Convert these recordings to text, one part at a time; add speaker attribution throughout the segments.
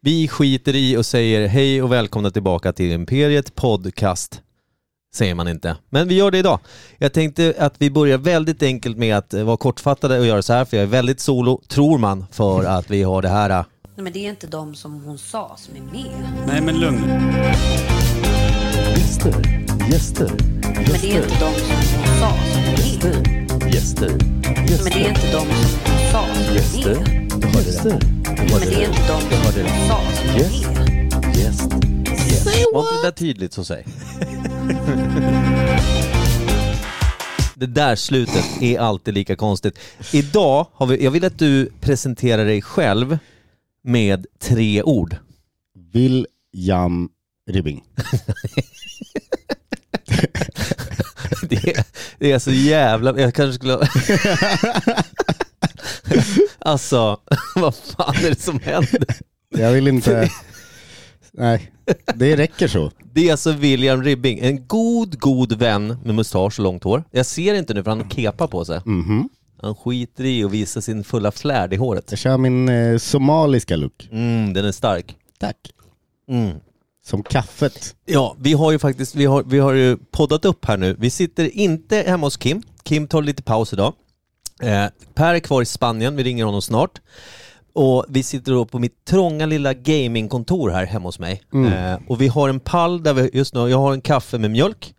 Speaker 1: Vi skiter i och säger hej och välkomna tillbaka till Imperiet Podcast. Säger man inte. Men vi gör det idag. Jag tänkte att vi börjar väldigt enkelt med att eh, vara kortfattade och göra så här, för jag är väldigt solo, tror man, för att vi har det här. eh,
Speaker 2: Nej, men det är inte de som hon sa som är med.
Speaker 3: Nej men lugn.
Speaker 4: Gäster, gäster,
Speaker 2: Men det är inte de som hon sa som är med.
Speaker 4: gäster,
Speaker 2: Men det är inte de som hon sa som är med.
Speaker 4: Du hörde det.
Speaker 2: Men det är inte de som hon sa som är med.
Speaker 4: Gäst.
Speaker 1: Var inte det där tydligt så säg. Det där slutet är alltid lika konstigt. Idag har vi, jag vill att du presenterar dig själv med tre ord.
Speaker 4: William Ribbing.
Speaker 1: Det är, det är så jävla... Jag kanske skulle... ha- Alltså, vad fan är det som händer?
Speaker 4: Jag vill inte... Nej, det räcker så.
Speaker 1: Det är alltså William Ribbing, en god, god vän med mustasch och långt hår. Jag ser inte nu för han har kepa på sig.
Speaker 4: Mhm.
Speaker 1: Han skiter i och visar sin fulla flärd i håret.
Speaker 4: Jag kör min eh, somaliska look.
Speaker 1: Mm, den är stark.
Speaker 4: Tack.
Speaker 1: Mm.
Speaker 4: Som kaffet.
Speaker 1: Ja, vi har ju faktiskt vi har, vi har ju poddat upp här nu. Vi sitter inte hemma hos Kim. Kim tar lite paus idag. Eh, per är kvar i Spanien, vi ringer honom snart. Och vi sitter då på mitt trånga lilla gamingkontor här hemma hos mig.
Speaker 4: Mm.
Speaker 1: Eh, och vi har en pall där vi just nu, jag har en kaffe med mjölk.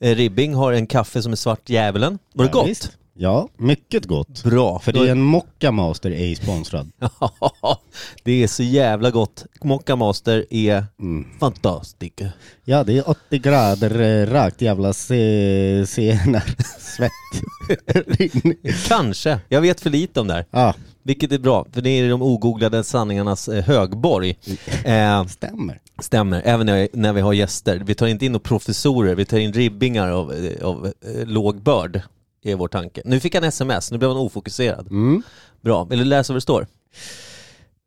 Speaker 1: Eh, Ribbing har en kaffe som är svart djävulen. Var det
Speaker 4: Ja,
Speaker 1: gott?
Speaker 4: visst. Ja, mycket gott.
Speaker 1: Bra.
Speaker 4: För det är en Mocca Master ej sponsrad.
Speaker 1: Ja, det är så jävla gott. Mocca Master är
Speaker 4: Mm.
Speaker 1: fantastisk.
Speaker 4: Ja, det är 80 grader eh, rakt jävla se- senare. Svett. Rinner.
Speaker 1: Kanske. Jag vet för lite om det här.
Speaker 4: ja,
Speaker 1: Vilket är bra, för det är de ogooglade sanningarnas eh, högborg. Eh,
Speaker 4: stämmer.
Speaker 1: stämmer, även när, när vi har gäster. Vi tar inte in några professorer, vi tar in ribbingar av, eh, av eh, låg börd, är vår tanke. Nu fick han sms, nu blev han ofokuserad.
Speaker 4: Mm.
Speaker 1: Bra, vill du läsa vad det står?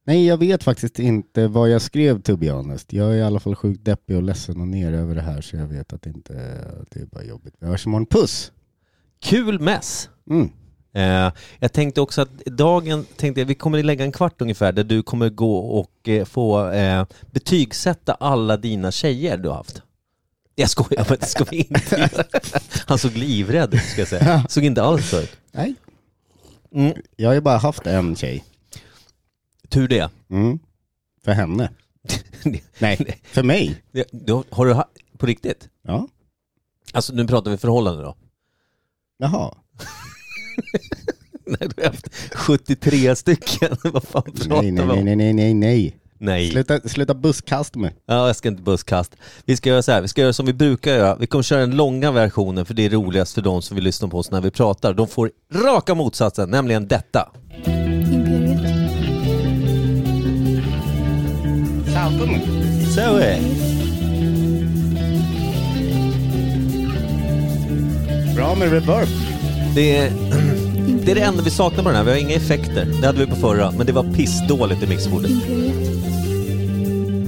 Speaker 4: Nej, jag vet faktiskt inte vad jag skrev to be honest. Jag är i alla fall sjukt deppig och ledsen och nere över det här så jag vet att det inte att det är bara jobbigt. Vi hörs imorgon. Puss!
Speaker 1: Kul mess!
Speaker 4: Mm.
Speaker 1: Eh, jag tänkte också att dagen, tänkte jag, vi kommer lägga en kvart ungefär där du kommer gå och eh, få eh, betygsätta alla dina tjejer du har haft. Jag skojar, men det ska vi inte göra. Han såg livrädd ut, ska jag säga. Såg inte alls så ut.
Speaker 4: Nej,
Speaker 1: Mm,
Speaker 4: jag har ju bara haft en tjej.
Speaker 1: tur det.
Speaker 4: Mm. För henne. Nej, för mig.
Speaker 1: Det- då, har du ha- på riktigt?
Speaker 4: Ja,
Speaker 1: Alltså nu pratar vi förhållanden då.
Speaker 4: jaha.
Speaker 1: Nej, du har haft 73 stycken. Vad fan pratar vi
Speaker 4: Nej, nej,
Speaker 1: om?
Speaker 4: nej, nej, nej, nej, nej.
Speaker 1: nej.
Speaker 4: Sluta, sluta busskasta mig.
Speaker 1: Ja, jag ska inte busskast. Vi ska göra så här, vi ska göra som vi brukar göra. Vi kommer köra den långa versionen för det är roligast för de som vill lyssna på oss när vi pratar. De får raka motsatsen, nämligen detta. Så är
Speaker 4: Bra med reverb.
Speaker 1: det. Är, det är det enda vi saknar på den här, vi har inga effekter. Det hade vi på förra, men det var pissdåligt i mixbordet.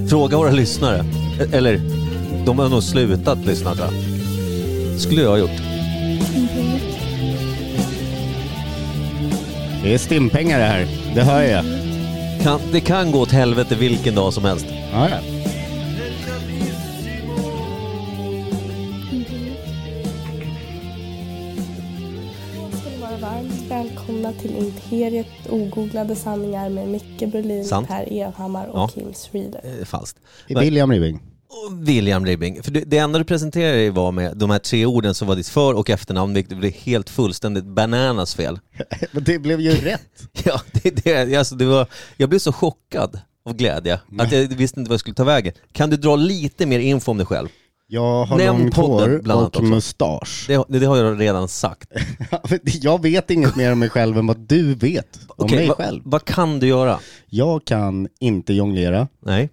Speaker 1: Fråga våra lyssnare. E- Eller, de har nog slutat lyssna tror jag. Skulle jag ha gjort.
Speaker 4: Det är stimpengar det här. Det hör jag.
Speaker 1: Kan, det kan gå åt helvete vilken dag som helst. Eh,
Speaker 4: Ja, ja.
Speaker 5: ska ni vara varmt välkomna till Imperiet ogooglade sanningar med Micke Berlin,
Speaker 1: Sant.
Speaker 5: Per Evhammar och
Speaker 1: Ja.
Speaker 5: Kim Schreeder.
Speaker 1: Eh, Falskt.
Speaker 4: William Ribbing.
Speaker 1: Och William Ribbing. För det, det enda du presenterade dig var med de här tre orden som var ditt för och efternamn, vilket blev helt fullständigt bananas fel.
Speaker 4: Men det blev ju rätt.
Speaker 1: Ja, det, det, alltså det var, jag blev så chockad av glädje att jag visste inte vad jag skulle ta vägen. Kan du dra lite mer info om dig själv?
Speaker 4: Jag har
Speaker 1: Nämn
Speaker 4: långt
Speaker 1: podden,
Speaker 4: hår
Speaker 1: bland annat
Speaker 4: och
Speaker 1: också.
Speaker 4: mustasch.
Speaker 1: Det, det har jag redan sagt.
Speaker 4: Ja, men Jag vet inget mer om mig själv än vad du vet om
Speaker 1: Okej,
Speaker 4: mig
Speaker 1: vad-
Speaker 4: själv.
Speaker 1: vad kan du göra?
Speaker 4: Jag kan inte jonglera.
Speaker 1: Nej.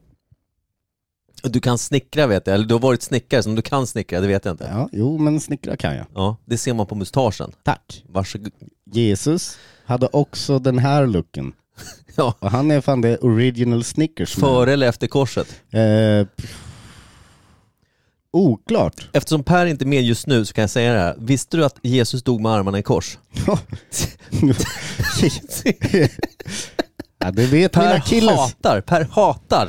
Speaker 1: Du kan snickra vet jag, eller du har varit snickare, så om du kan snickra, det vet jag inte.
Speaker 4: Ja, jo, men snickra kan jag.
Speaker 1: Ja, det ser man på mustaschen.
Speaker 4: Tack.
Speaker 1: Varsågod.
Speaker 4: Jesus hade också den här looken.
Speaker 1: Ja,
Speaker 4: Och han är fan the original Snickers.
Speaker 1: före eller efter korset?
Speaker 4: Eh, pff. oklart.
Speaker 1: Eftersom Per inte är med just nu så kan jag säga det här. Visste du att Jesus dog med armarna i kors?
Speaker 4: Ja, det vet mina
Speaker 1: Per
Speaker 4: killes.
Speaker 1: hatar, Per hatar.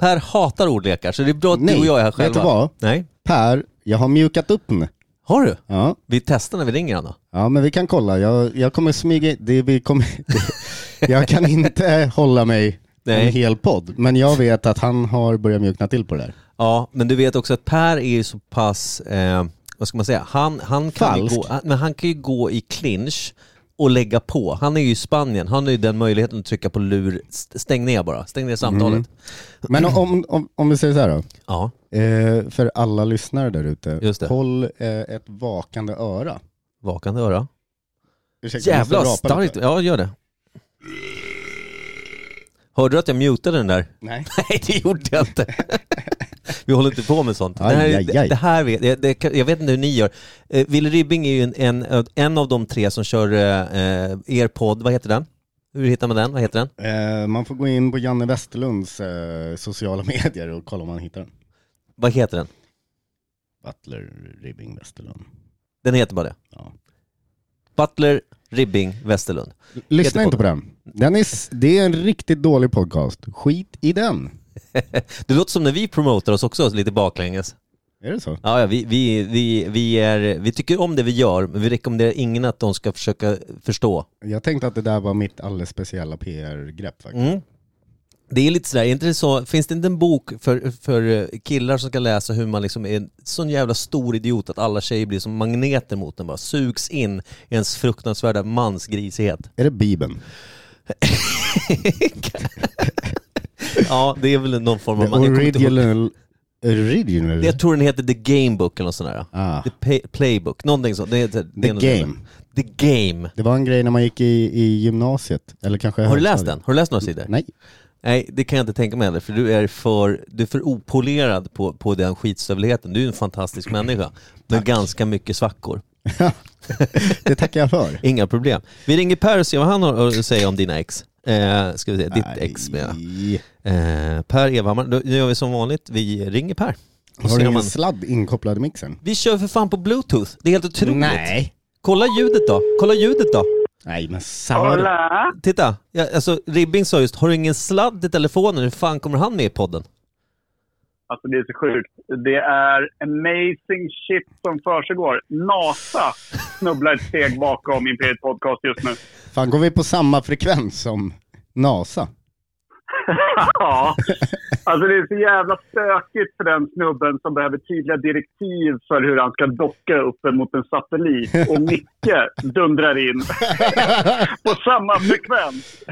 Speaker 1: Per hatar ordlekar, så det är bra att
Speaker 4: Nej,
Speaker 1: du och jag är här
Speaker 4: vet
Speaker 1: själva.
Speaker 4: du vad?
Speaker 1: Nej.
Speaker 4: Per, jag har mjukat upp nu.
Speaker 1: Har du?
Speaker 4: Ja,
Speaker 1: Vi testar när vi ringer honom.
Speaker 4: ja men vi kan kolla. Jag, jag kommer smyga in- det, vi kommer, Jag kan inte hålla mig
Speaker 1: Nej.
Speaker 4: en hel podd. Men jag vet att han har börjat mjukna till på det där.
Speaker 1: Ja, men du vet också att Per är ju så pass, eh, vad ska man säga, han, han, kan ju
Speaker 4: Falsk.
Speaker 1: gå, han, men han kan ju gå i clinch och lägga på. Han är ju i Spanien, han har ju den möjligheten att trycka på lur, St- stäng ner bara, stäng ner samtalet.
Speaker 4: Mhm. Men om, om, om vi säger så här då.
Speaker 1: Ja,
Speaker 4: Eh, för alla lyssnare där ute,
Speaker 1: Just det.
Speaker 4: håll eh, ett vakande öra.
Speaker 1: vakande öra.
Speaker 4: Ursäkta, jag måste
Speaker 1: Jävla
Speaker 4: rapa lite.
Speaker 1: starkt, ja gör det. Hörde du att jag mutade den där?
Speaker 4: Nej.
Speaker 1: Nej, det gjorde jag inte. Vi håller inte på med sånt.
Speaker 4: Aj,
Speaker 1: det här,
Speaker 4: aj, aj.
Speaker 1: Det här vet, det, det, jag vet inte hur ni gör. Eh, Wille Ribbing är ju en, en, en av de tre som kör eh, eh, er podd. Vad heter den? Hur hittar man den? Vad heter den?
Speaker 4: Eh, man får gå in på Janne Westerlunds eh, sociala medier och kolla om man hittar den.
Speaker 1: Vad heter den?
Speaker 4: Butler Ribbing Westerlund.
Speaker 1: Den heter bara det.
Speaker 4: Ja.
Speaker 1: Butler Ribbing Westerlund.
Speaker 4: Lyssna
Speaker 1: Heter
Speaker 4: inte på den. den är, s- det är en riktigt dålig podcast. Skit i den.
Speaker 1: Det låter som när vi promotar oss också lite baklänges.
Speaker 4: Är det så?
Speaker 1: Ja, ja, vi, vi, vi, vi, är, vi tycker om det vi gör, men vi rekommenderar ingen att de ska försöka förstå.
Speaker 4: Jag tänkte att det där var mitt alldeles speciella PR-grepp faktiskt.
Speaker 1: Mm. Det är lite sådär, är inte det så, finns det inte en bok för, för eh, killar som ska läsa hur man liksom är en sån jävla stor idiot att alla tjejer blir som magneter mot den bara, sugs in i ens fruktansvärda mansgrisighet?
Speaker 4: Är det Bibeln?
Speaker 1: Ja, det är väl någon form av...
Speaker 4: The
Speaker 1: jag kommer inte ihåg.
Speaker 4: original... Original?
Speaker 1: Jag tror den heter The Game Book eller något sånt där.
Speaker 4: Ah.
Speaker 1: The Pay- Playbook, någonting sånt. Det heter, det
Speaker 4: The
Speaker 1: är något sånt där.
Speaker 4: Game.
Speaker 1: The Game.
Speaker 4: Det var en grej när man gick i, i gymnasiet. Eller kanske
Speaker 1: Har du läst
Speaker 4: högstadiet.
Speaker 1: den? Har du läst några sidor?
Speaker 4: Nej.
Speaker 1: Nej, det kan jag inte tänka mig heller, för du är för, du är för opolerad på, på den skitstövligheten. Du är en fantastisk människa, men ganska mycket svackor.
Speaker 4: Det tackar jag för.
Speaker 1: Inga problem. Vi ringer Per och ser vad han har att säga om dina ex. Eh, ska vi se, ditt ex menar jag.
Speaker 4: Nej.
Speaker 1: eh, Per Evhammar, Då- nu gör vi som vanligt, vi ringer Per. Och
Speaker 4: Har
Speaker 1: ser
Speaker 4: du
Speaker 1: om
Speaker 4: en
Speaker 1: han-
Speaker 4: sladd inkopplad i mixen?
Speaker 1: Vi kör för fan på bluetooth, det är helt otroligt. Kolla ljudet då, kolla ljudet då.
Speaker 4: Nej men Sara.
Speaker 1: Titta, ja, alltså Ribbing sa just, har du ingen sladd i telefonen, hur fan kommer han med i podden?
Speaker 3: Alltså det är så sjukt. Det är amazing shit som försiggår. NASA snubblar ett steg bakom Imperiet Podcast just nu.
Speaker 4: Fan går vi på samma frekvens som NASA?
Speaker 3: ja. Alltså det är så jävla stökigt för den snubben som behöver tydliga direktiv för hur han ska docka uppe mot en satellit. Och Micke dundrar in på samma frekvens.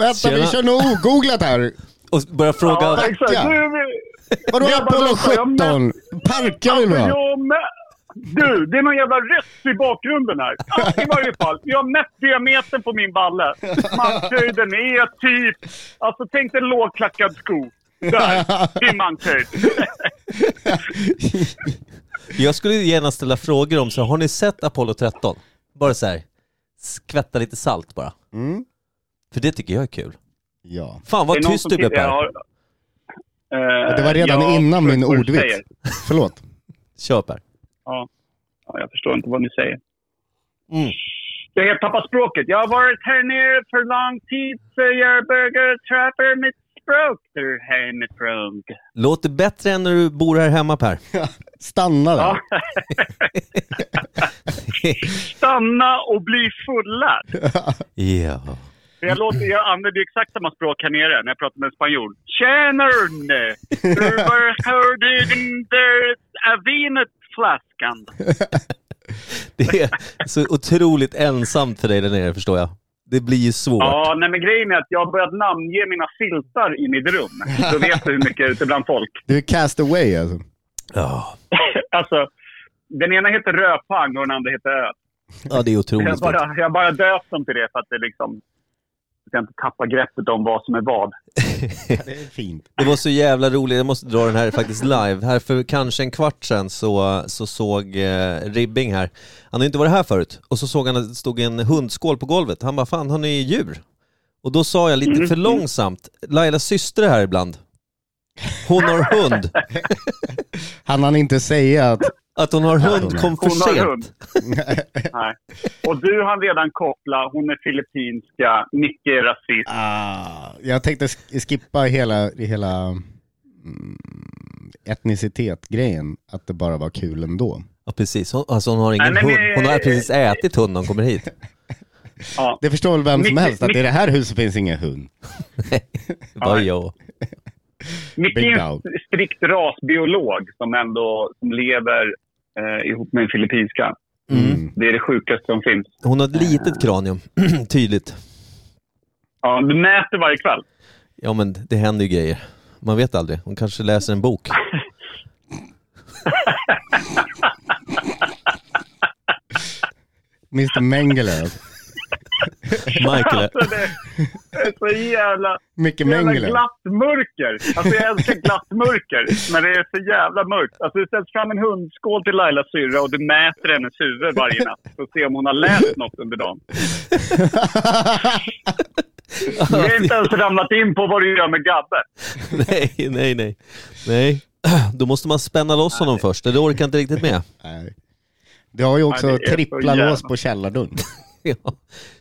Speaker 4: Vänta vi
Speaker 1: Tjena.
Speaker 4: kör nog ogooglat här.
Speaker 1: Och börja fråga...
Speaker 3: Ja, exakt.
Speaker 4: tacka.
Speaker 3: Nu är vi...
Speaker 4: Vadå
Speaker 3: Jag bara
Speaker 4: Apollo
Speaker 3: väntar,
Speaker 4: 17?
Speaker 3: jag
Speaker 4: Parkar vi
Speaker 3: Alltså,
Speaker 4: då?
Speaker 3: jag mä- Du, det är någon jävla röst i bakgrunden här. Ja, I varje fall. Jag har mätt diametern på min balle. Mankhöjden är typ... Alltså tänk dig en lågklackad sko. Där, till mankhöjd.
Speaker 1: Jag skulle ju gärna ställa frågor om så här, har ni sett Apollo 13? Bara så här, skvätta lite salt bara.
Speaker 4: Mm.
Speaker 1: För det tycker jag är kul.
Speaker 4: Ja.
Speaker 1: Fan
Speaker 3: Det är
Speaker 1: vad
Speaker 3: någon
Speaker 1: tyst
Speaker 3: som
Speaker 1: du blev
Speaker 3: till- jag
Speaker 1: Per.
Speaker 3: har- Eh,
Speaker 4: Det var redan
Speaker 3: jag
Speaker 4: innan
Speaker 3: förstår
Speaker 4: min
Speaker 3: vad du säger.
Speaker 4: ordvits. Förlåt.
Speaker 1: Kör Per.
Speaker 3: Ja, jag förstår inte vad ni säger.
Speaker 1: Mm.
Speaker 3: Jag har helt tappat språket. Jag har varit här nere för lång tid så jag börjar trappa mitt språk. Du, hej mitt språk.
Speaker 1: Låter bättre än när du bor här hemma Per.
Speaker 4: Stanna där.
Speaker 3: Stanna och bli fulla.
Speaker 1: Ja.
Speaker 3: För jag, låter, jag använder ju exakt samma språk här nere när jag pratar med en spanjor. Tjänaren! Hur har du den där vinet flaskan?
Speaker 1: Det är så otroligt ensamt för dig där nere förstår jag. Det blir ju svårt.
Speaker 3: Ja, nej men grejen är att jag har börjat namnge mina filtar i mitt rum. Då vet du hur mycket jag är ute bland folk.
Speaker 4: Du är cast away alltså.
Speaker 1: Ja,
Speaker 3: Alltså, den ena heter Röpang och den andra heter Ö.
Speaker 1: ja det är
Speaker 3: Jag
Speaker 1: otroligt svårt.
Speaker 3: bara, jag bara döpt dem till det för att det liksom... Att jag inte tappar greppet om vad som är vad.
Speaker 4: Det är fint.
Speaker 1: Det var så jävla roligt, jag måste dra den här faktiskt live. Här för kanske en kvart sedan så, så såg eh, Ribbing här, han har ju inte varit här förut, och så såg han att det stod en hundskål på golvet. Han bara, fan har ni djur? Och då sa jag lite för långsamt, Lailas syster är här ibland. Hon har hund.
Speaker 4: Han hann inte säga att
Speaker 1: Att hon har hund kom för
Speaker 3: Hon har hund.
Speaker 1: sent.
Speaker 3: Nej. Och du hann redan koppla, hon är filippinska, Micke är rasist.
Speaker 4: Ah, jag tänkte sk- skippa hela, hela mm, etnicitet-grejen, att det bara var kul ändå.
Speaker 1: Ja, precis. Hon, alltså hon har ingen
Speaker 3: Nej, men-
Speaker 1: hund. Hon har precis ätit hund när hon kommer hit.
Speaker 3: Ja.
Speaker 4: Ah, Det förstår väl vem som
Speaker 3: Mycket-
Speaker 4: helst att i det här huset finns ingen hund.
Speaker 1: Bara jag.
Speaker 3: Micke
Speaker 4: Big
Speaker 3: är en
Speaker 4: dog.
Speaker 3: strikt rasbiolog som ändå som lever eh, ihop med en filippinska.
Speaker 1: Mm.
Speaker 3: Det är det sjukaste som finns.
Speaker 1: Hon har ett litet kranium, tydligt.
Speaker 3: Ja, du mäter varje kväll.
Speaker 1: Ja men det händer ju grejer. Man vet aldrig. Hon kanske läser en bok.
Speaker 4: Mr Mengele. alltså.
Speaker 1: Michael,
Speaker 3: Alltså, det är så jävla,
Speaker 4: Micke
Speaker 3: jävla
Speaker 4: Mengele.
Speaker 3: glatt mörker. Alltså, jag älskar glatt mörker, men det är så jävla mörkt. Alltså, det ställs fram en hundskål till Lailas syrra och du mäter hennes huvud varje natt för att se om hon har läst något under dagen. Du har inte ens ramlat in på vad du gör med Gabbe.
Speaker 1: nej, nej, nej. Nej. Då måste man spänna loss honom först. Det orkar jag inte riktigt med.
Speaker 4: Nej. Du har ju också
Speaker 3: Nej, det är så
Speaker 4: trippla
Speaker 3: jävla-
Speaker 4: lås på källardörren.
Speaker 1: Ja.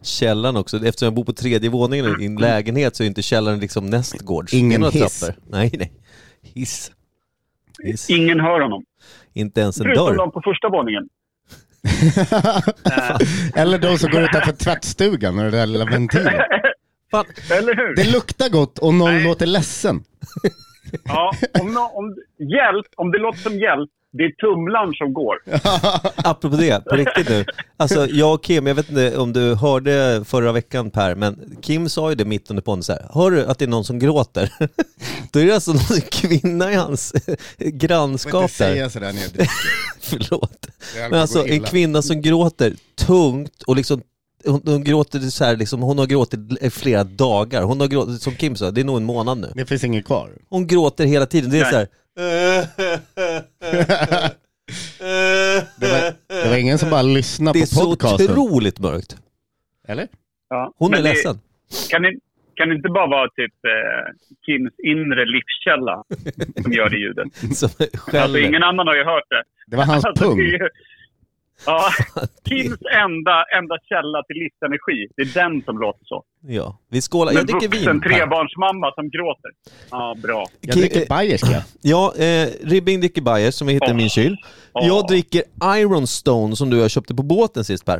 Speaker 1: Källaren också. Eftersom jag bor på tredje våningen i en lägenhet så är inte källaren liksom nästgårds.
Speaker 4: Ingen
Speaker 1: Det är några
Speaker 4: hiss.
Speaker 1: trappor. Nej, nej. Hiss. hiss.
Speaker 3: Ingen hör honom.
Speaker 1: Inte ens en
Speaker 3: Förutom de
Speaker 1: dörr.
Speaker 3: på första våningen.
Speaker 4: Eller de som går utanför tvättstugan och den där lilla ventilen.
Speaker 1: Fan.
Speaker 3: Eller hur?
Speaker 4: Det luktar gott och någon låter ledsen.
Speaker 3: Ja, om, nå- om, hjälp, om det låter som hjälp, det är tumlan som går.
Speaker 1: Apropå det, på riktigt nu. Alltså jag och Kim, jag vet inte om du hörde förra veckan Per, men Kim sa ju det mitt under podden så här. Hör du att det är någon som gråter? Då är det alltså någon kvinna i hans
Speaker 4: Du får
Speaker 1: grannskap
Speaker 4: inte
Speaker 1: där.
Speaker 4: säga sådär när jag dricker.
Speaker 1: Förlåt.
Speaker 4: Det
Speaker 1: Men alltså en kvinna som gråter tungt och liksom hon, hon gråter så här, liksom, hon har gråtit i flera dagar. Hon har gråtit, som Kim sa, det är nog en månad nu.
Speaker 4: Det finns inget kvar.
Speaker 1: Hon gråter hela tiden. Det är så här,
Speaker 4: Det var, det var ingen som bara lyssnade
Speaker 1: det är
Speaker 4: på
Speaker 1: så
Speaker 4: podcasten.
Speaker 1: otroligt mörkt.
Speaker 4: Eller?
Speaker 3: Ja.
Speaker 1: Hon
Speaker 3: Men
Speaker 1: är
Speaker 3: det-
Speaker 1: ledsen.
Speaker 3: Kan det, kan det inte bara vara typ eh, Kims inre livskälla som gör det ljudet?
Speaker 1: Som
Speaker 3: Alltså,
Speaker 1: skäller.
Speaker 3: ingen annan har ju hört det.
Speaker 4: Det var hans
Speaker 3: Alltså,
Speaker 4: pung.
Speaker 3: det är ju, ja, Kims enda, enda källa till livsenergi, det är den som låter så.
Speaker 1: Ja, vi skålar. Jag
Speaker 3: Men
Speaker 1: dricker
Speaker 3: vuxen
Speaker 1: vin. Per.
Speaker 3: trebarnsmamma som gråter. Ja, bra.
Speaker 4: Jag
Speaker 1: Ki-
Speaker 4: dricker
Speaker 1: eh,
Speaker 4: bayerska.
Speaker 1: Ja, eh, Ribbing dricker Bayers som vi hittar i min kyl.
Speaker 3: Åh.
Speaker 1: Jag dricker Ironstone som du och jag köpte på båten sist Per.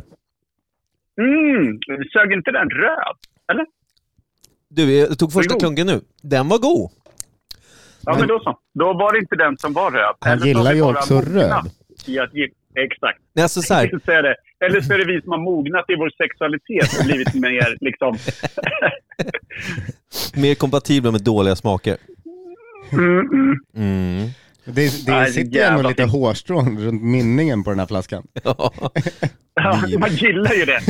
Speaker 3: Mm, sög inte den röd? Eller?
Speaker 1: Du, eh, jag tog första
Speaker 3: god.
Speaker 1: klunken nu. Den var god.
Speaker 3: Ja, men då så. Då var det inte den som var röd.
Speaker 4: Han
Speaker 3: Eller så har
Speaker 4: gillar
Speaker 3: vi
Speaker 4: ju
Speaker 3: bara
Speaker 4: också
Speaker 3: mognat
Speaker 4: röd.
Speaker 3: I att ge, exakt.
Speaker 1: Nej, alltså så här,
Speaker 3: Så är det. Eller så är det vi som har mognat i vår sexualitet och blivit mer liksom...
Speaker 1: mer kompatibla med dåliga smaker.
Speaker 3: Mm, mm.
Speaker 1: Mm.
Speaker 4: Det, det
Speaker 3: Nej, det
Speaker 4: sitter ju
Speaker 3: jävla
Speaker 4: ändå lite hårstrån runt minningen på den här flaskan.
Speaker 1: Ja.
Speaker 3: Ja, man gillar ju det.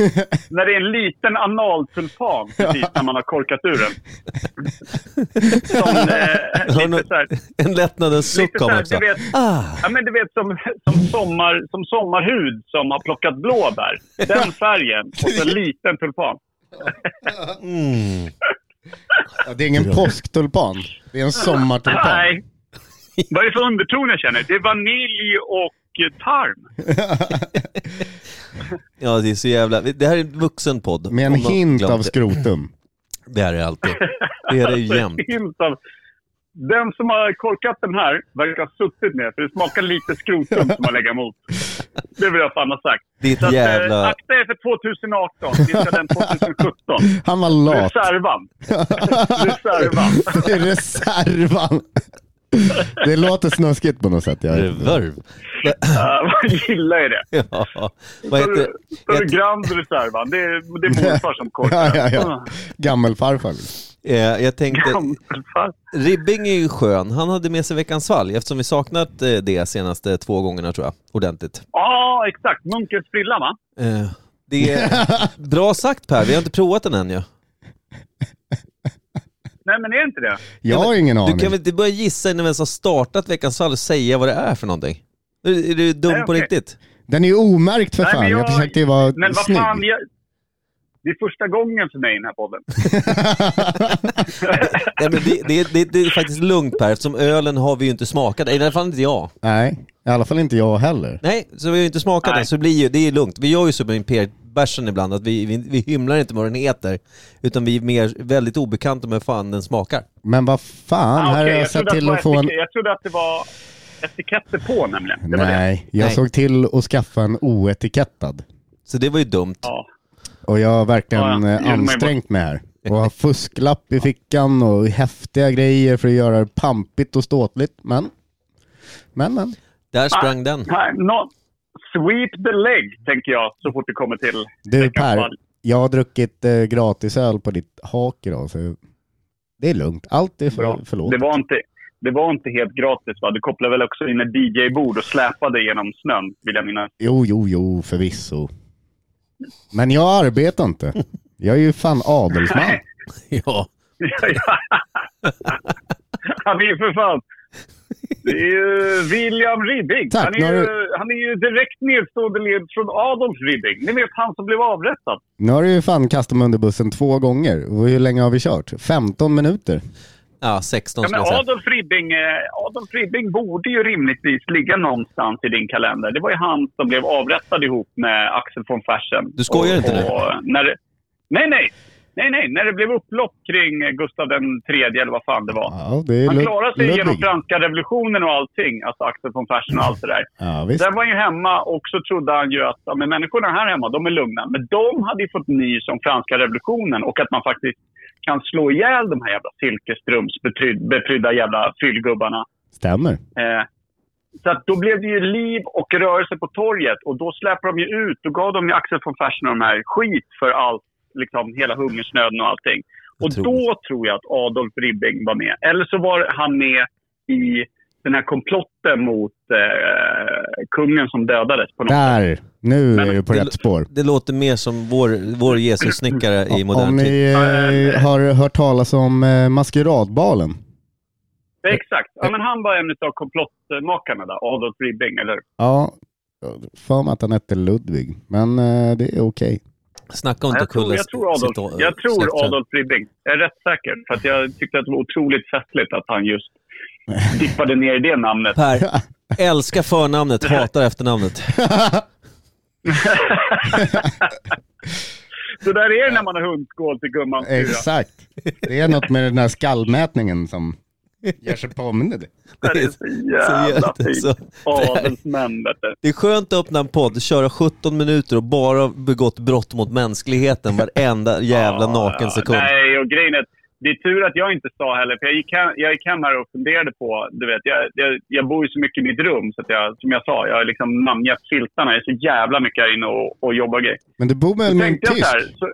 Speaker 3: När det är en liten analtulpan precis när man har korkat ur den. Som, eh, lite så här,
Speaker 1: En lättnadens suck
Speaker 3: lite så
Speaker 1: kom
Speaker 3: här,
Speaker 1: också.
Speaker 3: du vet,
Speaker 1: Ah,
Speaker 3: ja, men du vet som, som, sommar, som sommarhud som har plockat blåbär. Den färgen och så en liten tulpan.
Speaker 1: mm.
Speaker 4: Ja, det är ingen påsktulpan. Det är en sommartulpan.
Speaker 3: Nej. Vad är det för underton jag känner? Det är vanilj och eh, tarm.
Speaker 1: Ja, det är så jävla... Det här är en vuxen podd.
Speaker 4: Med en
Speaker 1: Om någon
Speaker 4: hint
Speaker 1: glömt
Speaker 4: av
Speaker 1: det.
Speaker 4: skrotum.
Speaker 1: Det här är alltid. Det här är jämt.
Speaker 3: Hint av- Den som har korkat den här verkar ha suttit ner, för det smakar lite skrotum som man lägger emot. Det vill jag fan ha sagt.
Speaker 1: Ditt
Speaker 3: Så att, eh,
Speaker 1: jävla...
Speaker 3: akta er för 2018, vi ska den 2017.
Speaker 4: Han var lat.
Speaker 3: Reservan. Reservan.
Speaker 4: Reservan. Det låter snuskigt på något sätt. Jag vet inte.
Speaker 1: Reverb.
Speaker 3: Uh, man gillar ju det.
Speaker 1: Ja. Vad heter...
Speaker 3: Står du
Speaker 1: heter-
Speaker 3: Grand Reservan? Det är, det är morfar som korkar.
Speaker 4: Ja, ja,
Speaker 3: Ah.
Speaker 4: ja. Gammelfarfar.
Speaker 1: eh, Jag tänkte...
Speaker 3: Gammelfarfar.
Speaker 1: Ribbing är ju skön. Han hade med sig veckans fall eftersom vi saknat eh, det senaste två gångerna tror jag. Ordentligt.
Speaker 3: Ja, exakt. Munkens frilla, va?
Speaker 1: Eh, Det är bra sagt Per, vi har inte provat den än ju.
Speaker 3: Nej, men är inte det?
Speaker 4: Jag har ingen
Speaker 1: Du
Speaker 4: aning.
Speaker 1: kan väl inte börja gissa innan vi ens har startat veckans fall och säga vad det är för någonting? Är, är du dum
Speaker 3: Nej,
Speaker 1: på
Speaker 3: okej.
Speaker 1: riktigt?
Speaker 4: Den är ju omärkt för
Speaker 3: Nej, men
Speaker 4: fan. Jag
Speaker 3: jag-
Speaker 4: försökte ju vara
Speaker 3: Men vad fan,
Speaker 4: snygg.
Speaker 3: jag, Det är första gången för mig i den här podden.
Speaker 1: Nej, men det, det, det, det är faktiskt lugnt Per, eftersom ölen har vi ju inte smakat. I alla fall inte jag.
Speaker 4: Nej, i alla fall inte jag heller.
Speaker 1: Nej, så vi har ju inte smakat
Speaker 3: Nej.
Speaker 1: den, så det, blir ju, det är lugnt. Vi gör ju så med Imperiet-bärsen ibland, att vi, vi, vi hymlar inte med vad den heter, utan vi är mer väldigt obekanta med hur fan den smakar.
Speaker 4: Men vad fan,
Speaker 3: Ah,
Speaker 4: här
Speaker 3: okej,
Speaker 4: har jag,
Speaker 3: jag,
Speaker 4: sett
Speaker 3: trodde att det
Speaker 4: till
Speaker 3: var
Speaker 4: att få en...
Speaker 3: etik- jag trodde att det var etiketter på nämligen. Det var det.
Speaker 4: Nej, jag
Speaker 1: Nej.
Speaker 4: såg till att skaffa en oetikettad.
Speaker 1: Så det var ju dumt.
Speaker 3: Ja.
Speaker 4: Och jag har
Speaker 3: Ah, Ja, ja.
Speaker 4: verkligen
Speaker 3: Det
Speaker 4: eh,
Speaker 3: gjorde man ju
Speaker 4: ansträngt mig här. Och har fusklapp i fickan och häftiga grejer för att göra det pampigt och ståtligt. Men, men, men.
Speaker 1: Där sprang den.
Speaker 3: Nej, nå- sweep the leg, tänker jag, så fort det kommer till
Speaker 4: Du
Speaker 3: veckans
Speaker 4: Per,
Speaker 3: fall.
Speaker 4: jag har druckit eh, gratisöl på ditt hak idag så det är lugnt. Allt är
Speaker 3: Bra.
Speaker 4: för, förlåt.
Speaker 3: Det var inte... Det var inte helt gratis va? Du kopplade väl också in ett DJ-bord och släpade genom snön, vill jag minnas.
Speaker 4: Jo, jo, jo, förvisso. Men jag arbetar inte. Jag är ju fan adelsman.
Speaker 1: Ja.
Speaker 3: han är ju för fan... Det är ju William Ribbing.
Speaker 4: Tack,
Speaker 3: han,
Speaker 4: nu
Speaker 3: är
Speaker 4: har
Speaker 3: ju, han är ju direkt nedstående led från Adolf Ribbing. Ni vet han som blev avrättad.
Speaker 4: Nu har du ju fan kastat mig under bussen två gånger. Och hur länge har vi kört? 15 minuter.
Speaker 1: ja, 16
Speaker 3: Ja,
Speaker 1: skulle
Speaker 3: men
Speaker 1: jag säga.
Speaker 3: Adolf, Ribbing, eh, Adolf Ribbing borde ju rimligtvis ligga någonstans i din kalender. Det var ju han som blev avrättad ihop med Axel von Fersen.
Speaker 1: Du skojar inte nu?
Speaker 3: Och när det, nej, nej. Nej, nej. När det blev upplopp kring eh, Gustav den tredje eller vad fan det var.
Speaker 4: Ja, det är
Speaker 3: Han
Speaker 4: Lud-
Speaker 3: klarade sig genom
Speaker 4: Ludvig.
Speaker 3: franska revolutionen och allting. Alltså Axel von Fersen och allt det där.
Speaker 4: Ja, visst.
Speaker 3: Sen var han ju hemma och så trodde han ju att ja, men människorna här hemma, de är lugna. Men de hade ju fått ny som franska revolutionen och att man faktiskt kan slå ihjäl de här jävla silkesströmsbeprydda jävla fyllgubbarna.
Speaker 4: Stämmer.
Speaker 3: Eh, så att då blev det ju liv och rörelse på torget och då släppte de ju ut. Då gav de ju Axel von Fersen och de här skit för allt, liksom hela hungersnöden och allting. Och då tror jag att Adolf Ribbing var med. Eller så var han med i den här komplotten mot eh, kungen som dödades på något
Speaker 4: Där! Nu
Speaker 3: Men-
Speaker 4: är du på
Speaker 1: Det-
Speaker 4: rätt spår.
Speaker 1: Det låter mer som vår, vår Jesus-snickare i
Speaker 4: Om
Speaker 1: modern tid.
Speaker 4: ni eh, har hört talas om eh, maskeradbalen?
Speaker 3: Exakt. Ja, men han var en av komplottmakarna där, Adolf Ribbing, eller
Speaker 4: Ja, för mig att han hette Ludvig. Men eh, det är okej.
Speaker 1: Snacka om inte
Speaker 3: Ja, jag, tror,
Speaker 1: kulla
Speaker 3: jag tror Adolf,
Speaker 1: sitt, äh,
Speaker 3: jag tror
Speaker 1: släktträd.
Speaker 3: Adolf Ribbing. Jag är rätt säker. För att jag tyckte att det var otroligt festligt att han just dippade ner i det namnet.
Speaker 1: Per, älskar förnamnet, hatar efternamnet.
Speaker 3: Så där är det när man har hundskål till gumman. Tyra.
Speaker 4: Exakt. Det är något med den här skallmätningen som gör sig påminnande.
Speaker 3: Det är så jävla
Speaker 1: Så jätte-
Speaker 3: fint. Adelsmän, vet du.
Speaker 1: Det är skönt att öppna en podd, köra 17 minuter och bara begått brott mot mänskligheten varenda jävla naken sekund.
Speaker 3: Nej, och grejen är att det är tur att jag inte sa heller, för jag gick hem, jag gick hem här och funderade på, du vet, jag, jag, jag bor ju så mycket i mitt rum, så att jag, som jag sa, jag har liksom namngett filtarna. Jag är så jävla mycket här inne och, och jobbar grejer.
Speaker 4: Men du bor väl
Speaker 3: Då
Speaker 4: med en
Speaker 3: tänkte jag
Speaker 4: tysk?
Speaker 3: så här, så,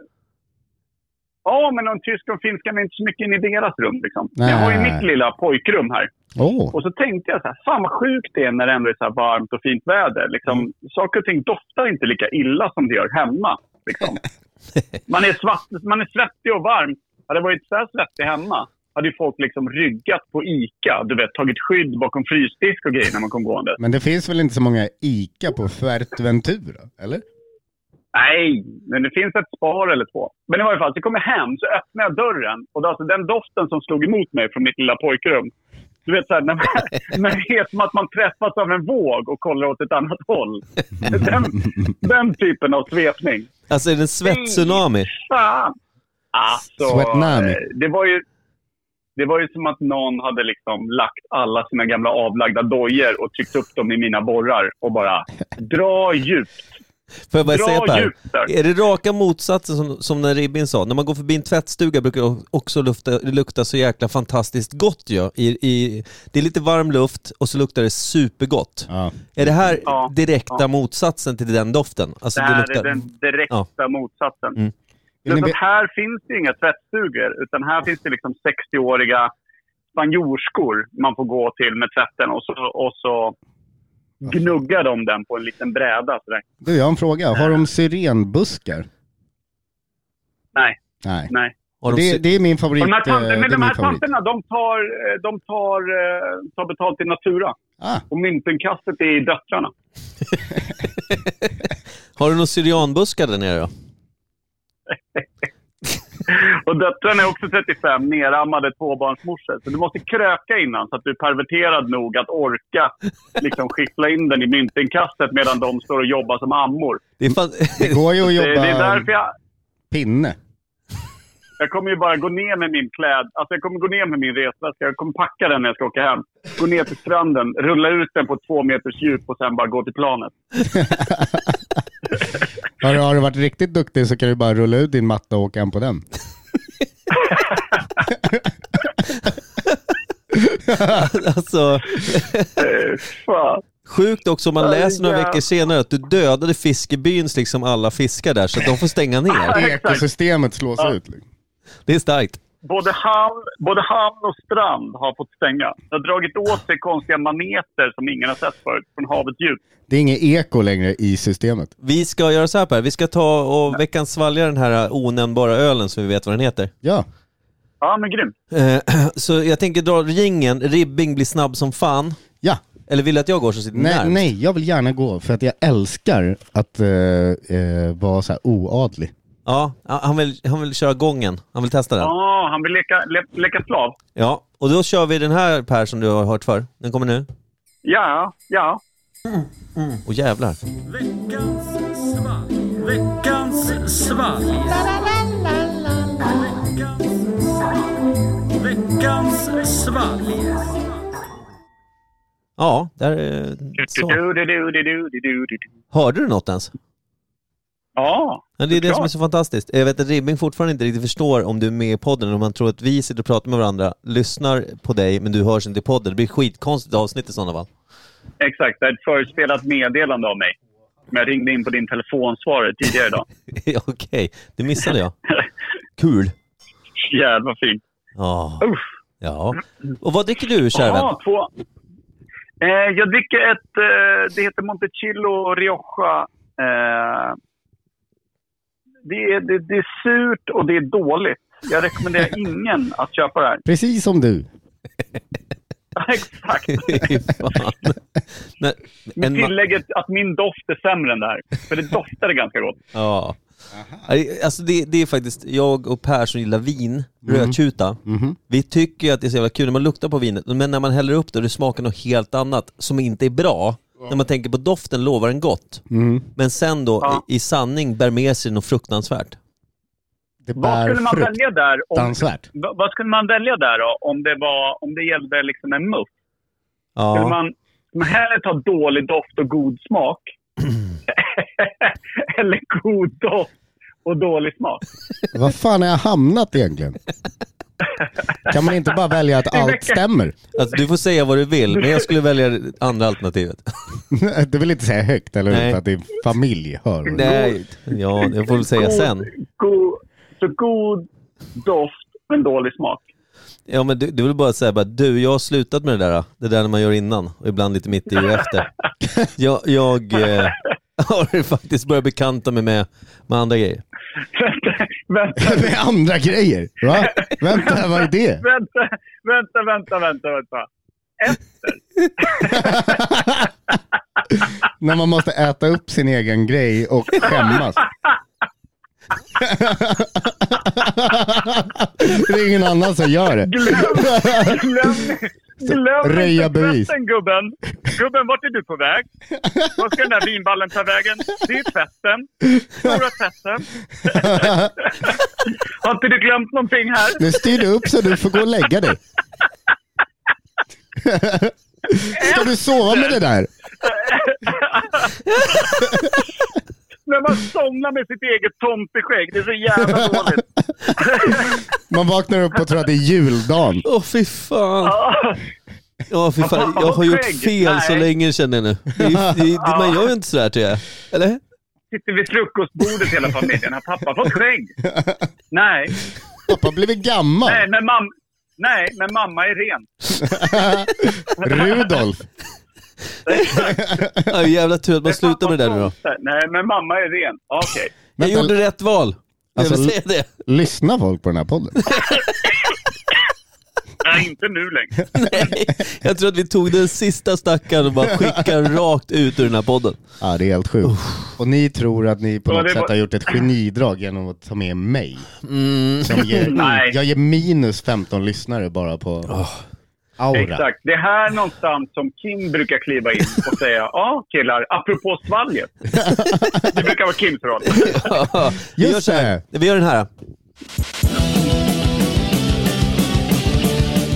Speaker 3: Ja, men de tyska och finskan är inte så mycket in i deras rum. Liksom. Men Jag
Speaker 4: Nej.
Speaker 3: har ju mitt lilla pojkrum här.
Speaker 4: Åh,
Speaker 3: Och så tänkte jag så här, fan vad sjukt det är när det ändå är så här varmt och fint väder. Liksom,
Speaker 4: Mm.
Speaker 3: Saker och ting doftar inte lika illa som det gör hemma. Liksom. Man, är svart, man är svettig och varm. Hade det varit så här svettig hemma hade ju folk liksom ryggat på ICA. Du vet, tagit skydd bakom frysdisk och grejer när man kom gående.
Speaker 4: men det finns väl inte så många ICA på Fuerteventura? Eller?
Speaker 3: Nej, men det finns ett spar eller två. Men i varje fall, så kom jag hem, så öppnade jag dörren och det var alltså den doften som slog emot mig från mitt lilla pojkrum. Du vet såhär, när, man- när det är som att man träffas av en våg och kollar åt ett annat håll. Den, den typen av svepning.
Speaker 1: Alltså är det en svettsunami?
Speaker 3: Fan! Alltså,
Speaker 4: Swetnami.
Speaker 3: eh, det var ju... Det var ju som att någon hade liksom lagt alla sina gamla avlagda dojor och tryckt upp dem i mina borrar och bara dra djupt.
Speaker 1: Får jag bara
Speaker 3: Dra
Speaker 1: säga Per?
Speaker 3: djupt där.
Speaker 1: Är det raka motsatsen som, som när Ribbin sa? När man går förbi en tvättstuga brukar det också lufta, lukta så jäkla fantastiskt gott ju. I, i, det är lite varm luft och så luktar det supergott.
Speaker 4: Ja.
Speaker 1: Är det här
Speaker 3: Ja,
Speaker 1: direkta motsatsen till den doften? Alltså
Speaker 3: Det
Speaker 1: det,
Speaker 3: här
Speaker 1: luktar...
Speaker 3: är den direkta motsatsen.
Speaker 1: Mm.
Speaker 4: Mm. Vill ni
Speaker 3: Plus
Speaker 4: ve-
Speaker 3: att här finns det ju inga tvättstugor, utan här finns det liksom 60-åriga spanjorskor man får gå till med tvätten och så, och så gnuggar de den på en liten bräda. Sådär.
Speaker 4: Du, jag har en fråga. Har de syrenbuskar?
Speaker 3: Nej,
Speaker 4: Nej.
Speaker 3: nej.
Speaker 1: Har de
Speaker 4: Det,
Speaker 1: sy-
Speaker 4: det är min favorit.
Speaker 3: Och de här
Speaker 4: eh,
Speaker 3: tanterna,
Speaker 4: det
Speaker 3: men
Speaker 4: är
Speaker 3: de
Speaker 4: min
Speaker 3: här
Speaker 4: favorit.
Speaker 3: tanterna de tar, eh, de tar, eh, tar betalt till Natura.
Speaker 4: Ah,
Speaker 3: Och myntinkastet är i döttrarna.
Speaker 1: Har du några syrianbuskar där nere då?
Speaker 3: Och döttrarna är också 35, nerammade tvåbarnsmorsor. Så du måste kröka innan så att du är perverterad nog att orka liksom skyffla in den i myntinkastet medan de står och jobbar som ammor.
Speaker 1: Det är fan...
Speaker 4: Det går ju att
Speaker 3: Det, det är
Speaker 4: jobba
Speaker 3: därför jag,
Speaker 4: pinne.
Speaker 3: jag kommer ju bara gå ner med min kläd... Alltså jag kommer gå ner med min resväska. Jag kommer packa den när jag ska åka hem. Gå ner till stranden, rulla ut den på två meters djup och sen bara gå till planet.
Speaker 4: Har, du- har du varit riktigt duktig så kan du bara rulla ut din matta och åka hem på den.
Speaker 1: alltså,
Speaker 3: Eh, Fan.
Speaker 1: sjukt också om man
Speaker 3: Ja,
Speaker 1: läser några
Speaker 3: ja.
Speaker 1: veckor senare att du dödade fiskebyns liksom alla fiskar där så att de får stänga ner.
Speaker 4: Ekosystemet slås ut. liksom.
Speaker 1: Det är starkt.
Speaker 3: Både hamn, både hamn och strand har fått stänga. Det har dragit åt sig konstiga maneter som ingen har sett förut från havets djup.
Speaker 4: Det är inget eko längre i systemet.
Speaker 1: Vi ska göra så här Per, vi ska ta och veckans svalga den här onämnbara ölen som vi vet vad den heter.
Speaker 4: Ja,
Speaker 3: Ja, men grymt.
Speaker 1: Eh, Så jag tänker dra ringen, Ribbing blir snabb som fan.
Speaker 4: ja.
Speaker 1: Eller vill du att jag går så sitter
Speaker 4: Nej,
Speaker 1: närmst?
Speaker 4: nej, jag vill gärna gå för att jag älskar att eh, eh, vara så här oadlig.
Speaker 1: Ja, han vill, han vill köra gången. Han vill testa den. Ja.
Speaker 3: Ja, han vill leka, le, leka slav.
Speaker 1: och då kör vi den här Per som du har hört för. Den kommer nu.
Speaker 3: Ja, ja.
Speaker 1: Och jävlar. Ja, där... eh, Så.
Speaker 3: Du-du-du-du-du-du-du-du.
Speaker 1: Hörde du något ens?
Speaker 3: Ja,
Speaker 1: Ja, det är det
Speaker 3: Såklart.
Speaker 1: som är så fantastiskt. Jag vet att Ribbing fortfarande inte riktigt förstår om du är med i podden, om man tror att vi sitter och pratar med varandra, lyssnar på dig men du hörs inte i podden. Det blir skitkonstigt avsnitt i sådana fall.
Speaker 3: exakt. Det är ett förspelat meddelande av mig. Men jag ringde in på din telefonsvarare tidigare idag.
Speaker 1: Okej, det missade jag. Kul.
Speaker 3: Jävla fint.
Speaker 1: Ja.
Speaker 3: Usch.
Speaker 1: ja. Och vad dricker du, kära vän?
Speaker 3: Ja, två. Eh, jag dricker ett, eh, det heter Montecillo Rioja. Eh, det, är, det, det är surt och det är dåligt. Jag rekommenderar ingen att köpa det här.
Speaker 4: Precis som du.
Speaker 3: Exakt.
Speaker 1: Fy fan. Nej,
Speaker 3: Med
Speaker 1: en ma-
Speaker 3: tillägget att min doft är sämre än det här. För det doftade ganska gott.
Speaker 1: ja. Nej, Alltså det, det är faktiskt jag och Per som gillar vin, rödtjuta. Vi tycker ju att det är så jävla kul när man luktar på vinet, men när man häller upp det och det smakar något helt annat som inte är bra. När man tänker på doften lovar den gott, men sen då
Speaker 3: Ja.
Speaker 1: i, i sanning bär med sig något fruktansvärt.
Speaker 4: Det
Speaker 3: Vad
Speaker 4: bär
Speaker 3: skulle man välja där om,
Speaker 4: fruktansvärt.
Speaker 3: va- vad skulle man välja där då, om det, var, om det gällde liksom en muff? Skulle
Speaker 1: Ja.
Speaker 3: man, skulle man hellre ta dålig doft och god smak? Eller god doft och dålig smak?
Speaker 4: Vad fan har jag hamnat egentligen? Kan man inte bara välja att allt stämmer?
Speaker 1: Alltså, du får säga vad du vill, men jag skulle välja det andra alternativet.
Speaker 4: Du vill inte säga högt eller
Speaker 1: Nej.
Speaker 4: hur? För att din familj hör. vad du-
Speaker 1: Nej. Ja, jag får väl säga
Speaker 3: god,
Speaker 1: sen.
Speaker 3: God, så god doft men dålig smak.
Speaker 1: Ja men du, du vill bara säga bara, du jag har slutat med det där, det där när man gör innan och ibland lite mitt i och efter. Jag, jag eh, har faktiskt börjat bekanta mig med, med andra grejer.
Speaker 3: vänta, vänta,
Speaker 4: Med andra grejer. Va? Vänta, vad är det?
Speaker 3: vänta, vänta, vänta, vänta, vänta.
Speaker 4: När man måste äta upp sin egen grej och skämmas. Det är ingen annan som gör det.
Speaker 3: Glöm, glöm, glöm
Speaker 4: Röja
Speaker 3: inte
Speaker 4: bevis.
Speaker 3: tvätten gubben. Gubben, vart är du på väg? Vart ska den där vinballen ta vägen? Det är tvätten. Stora tvätten. Har inte du glömt någonting här?
Speaker 4: Nu styr du upp så du får gå och lägga dig. Ska du sova med det där?
Speaker 3: När man somnar med sitt eget tomteskägg. Det är så jävla dåligt.
Speaker 4: Man vaknar upp och tror att det är juldagen.
Speaker 1: Åh fy fan.
Speaker 3: Ja,
Speaker 1: Ja fy fan, jag har gjort fel så länge känner jag nu. Det, är- det, är- man gör ju inte sådär till jag. Eller?
Speaker 3: Sitter vid frukostbordet hela familjen. Har pappa fått skägg? Nej,
Speaker 4: Pappa har blivit gammal.
Speaker 3: nej, men mam- nej, men mamma är ren.
Speaker 4: Rudolf.
Speaker 1: Ja, jävla tur att man slutar med det där nu då.
Speaker 3: Nej, men mamma är ren. Okej.
Speaker 1: Jag gjorde rätt val. Jag
Speaker 4: Alltså,
Speaker 1: vill säga det.
Speaker 4: Lyssnar folk på den här podden?
Speaker 3: Nej, inte nu längre.
Speaker 1: Nej, jag tror att vi tog den sista stackaren och bara skickade rakt ut ur den här podden.
Speaker 4: Ja, det är helt sjukt. Och ni tror att ni på
Speaker 3: Ja,
Speaker 4: något
Speaker 3: det
Speaker 4: sätt
Speaker 3: var-
Speaker 4: har gjort ett genidrag genom att ta med mig.
Speaker 1: Mm.
Speaker 4: Som ger,
Speaker 3: Nej.
Speaker 4: jag ger minus 15 lyssnare bara på aura.
Speaker 3: Exakt. Det är här någonstans som Kim brukar kliva in och säga ja killar, apropå svalget. Det brukar vara Kims roll.
Speaker 1: Vi
Speaker 4: Just
Speaker 1: gör, så här.
Speaker 4: det.
Speaker 1: vi gör den här.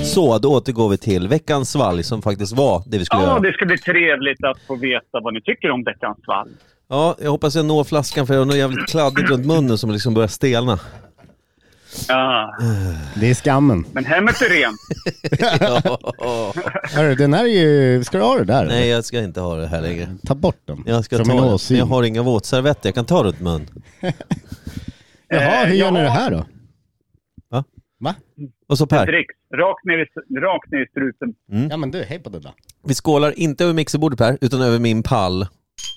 Speaker 1: Så, då återgår vi till veckans svalg som faktiskt var det vi skulle
Speaker 3: Ja,
Speaker 1: göra.
Speaker 3: det ska bli trevligt att få veta vad ni tycker om veckans svalg.
Speaker 1: Ja, jag hoppas jag når flaskan för jag har något jävligt kladdigt runt munnen som liksom börjar stelna.
Speaker 3: Ja,
Speaker 4: Det är skammen.
Speaker 3: men hemmet är rent.
Speaker 1: Ja.
Speaker 4: Hörru, den här är ju... Ska du ha det där?
Speaker 1: Nej, jag ska inte ha det här längre.
Speaker 4: Ta bort den.
Speaker 1: Jag ska
Speaker 4: Som
Speaker 1: ta
Speaker 4: en
Speaker 1: det.
Speaker 4: åsyn.
Speaker 1: Jag har inga våtservetter jag kan ta runt mun.
Speaker 4: Jaha, hur
Speaker 3: Eh,
Speaker 4: gör ni
Speaker 3: ja.
Speaker 4: det här då?
Speaker 1: Va?
Speaker 4: Va?
Speaker 1: Och så Per,
Speaker 3: Dricks, rakt ner, i, rakt ner i strupen.
Speaker 1: Mm.
Speaker 4: Ja men du, hej på det då.
Speaker 1: vi skålar inte över mixerbordet Per, utan över min pall.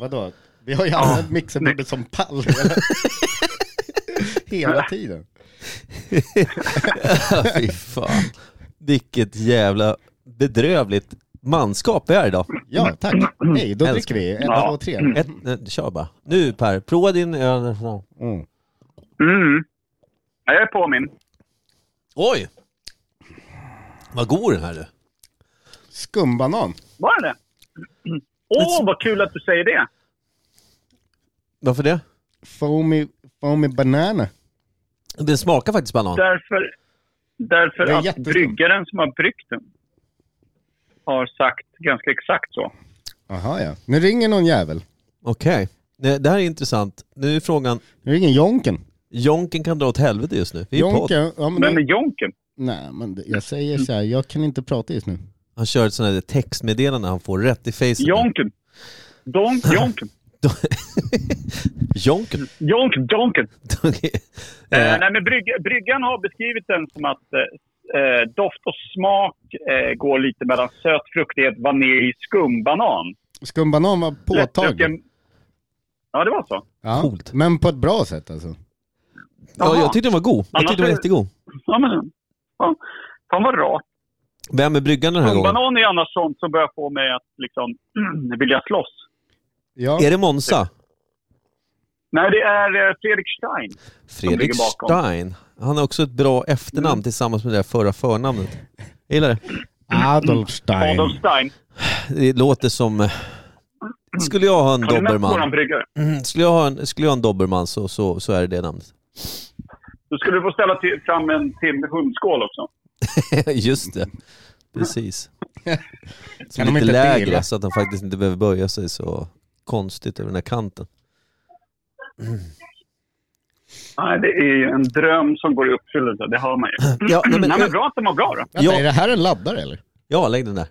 Speaker 4: Vadå? Vi har ju använt mixerbordet som pall hela- hela tiden.
Speaker 1: Fy fan. Vilket jävla bedrövligt manskap vi är idag.
Speaker 4: Ja, tack. Hej, då
Speaker 1: Älskar.
Speaker 4: dricker vi. Ett,
Speaker 3: Ja.
Speaker 4: två, tre.
Speaker 1: Ett, nej, kör bara. Nu Per, prova din öl.
Speaker 4: Mm.
Speaker 3: Mm. Ja, Jag är påminn.
Speaker 1: Oj! Vad god den här du.
Speaker 4: Skumbanan.
Speaker 3: Var det? Åh, vad kul att du säger det.
Speaker 1: Varför det?
Speaker 4: Foamy, foamy banana.
Speaker 1: Den smakar faktiskt banan.
Speaker 3: Därför, därför
Speaker 4: Det är
Speaker 3: att
Speaker 4: jätteskumt.
Speaker 3: bryggaren som har bryggt den har sagt ganska exakt så.
Speaker 4: Jaha ja. Nu ringer någon jävel.
Speaker 1: Okej. Nej, Det här är intressant. Nu är frågan,
Speaker 4: Nu ringer Jonken.
Speaker 1: Jonken kan dra åt helvete just nu. Vi är på.
Speaker 4: Jonken, ja, men
Speaker 3: Vem är
Speaker 4: det,
Speaker 3: Jonken?
Speaker 4: nej men det, jag säger så här, jag kan inte prata just nu.
Speaker 1: Han kör ett sånt här textmeddelande han får rätt i facet.
Speaker 3: Jonken. Donk, Jonken.
Speaker 1: Jonken.
Speaker 3: Jonk, Jonken. Eh,
Speaker 1: Eh,
Speaker 3: nej, men brygg, bryggan har beskrivit den som att eh, eh, doft och smak eh, går lite mellan söt fruktighet, vanilj, skumbanan.
Speaker 4: Skumbanan var påtaglig.
Speaker 3: Lättdrucken- Ja, det var så.
Speaker 4: Ja,
Speaker 1: Coolt.
Speaker 4: men på ett bra sätt alltså.
Speaker 1: ja, jag tyckte den var god. Jag
Speaker 3: Annars
Speaker 1: tyckte den var
Speaker 3: är-
Speaker 1: jättegod.
Speaker 3: Ja, men, ja. Fan vad rart.
Speaker 1: Vem är bryggan den här gången?
Speaker 3: Skumbanan är annars sånt som börjar få mig att liksom, vilja slåss.
Speaker 4: Ja.
Speaker 1: Är det Monza?
Speaker 3: Nej, det är eh, Fredrik Stein.
Speaker 1: Fredrik
Speaker 3: ligger bakom. Mm.
Speaker 1: Stein. Han har också ett bra efternamn tillsammans med det där förra förnamnet. Jag gillar det.
Speaker 4: Adolf Stein.
Speaker 3: Adam Stein.
Speaker 1: Det låter som... eh, Skulle jag ha en
Speaker 3: Har du mött våran
Speaker 1: dobermann,
Speaker 3: bryggare?
Speaker 1: Mm, skulle jag ha en, skulle jag ha en dobermann så, så, så är det det namnet.
Speaker 3: Då skulle du få ställa till, fram en till hundskål också.
Speaker 1: Just det. Precis. Som
Speaker 4: de
Speaker 1: lite
Speaker 4: inte
Speaker 1: lägre
Speaker 4: dela?
Speaker 1: så att han faktiskt inte behöver böja sig så konstigt över den här kanten.
Speaker 3: Nej, det är ju en dröm som går i uppfyllelse. Det hör man ju.
Speaker 1: Ja, nej, men-
Speaker 3: Nej, men bra att den var bra då.
Speaker 4: Vänta,
Speaker 1: Ja.
Speaker 4: är det här en laddare eller?
Speaker 1: Ja, lägg den där.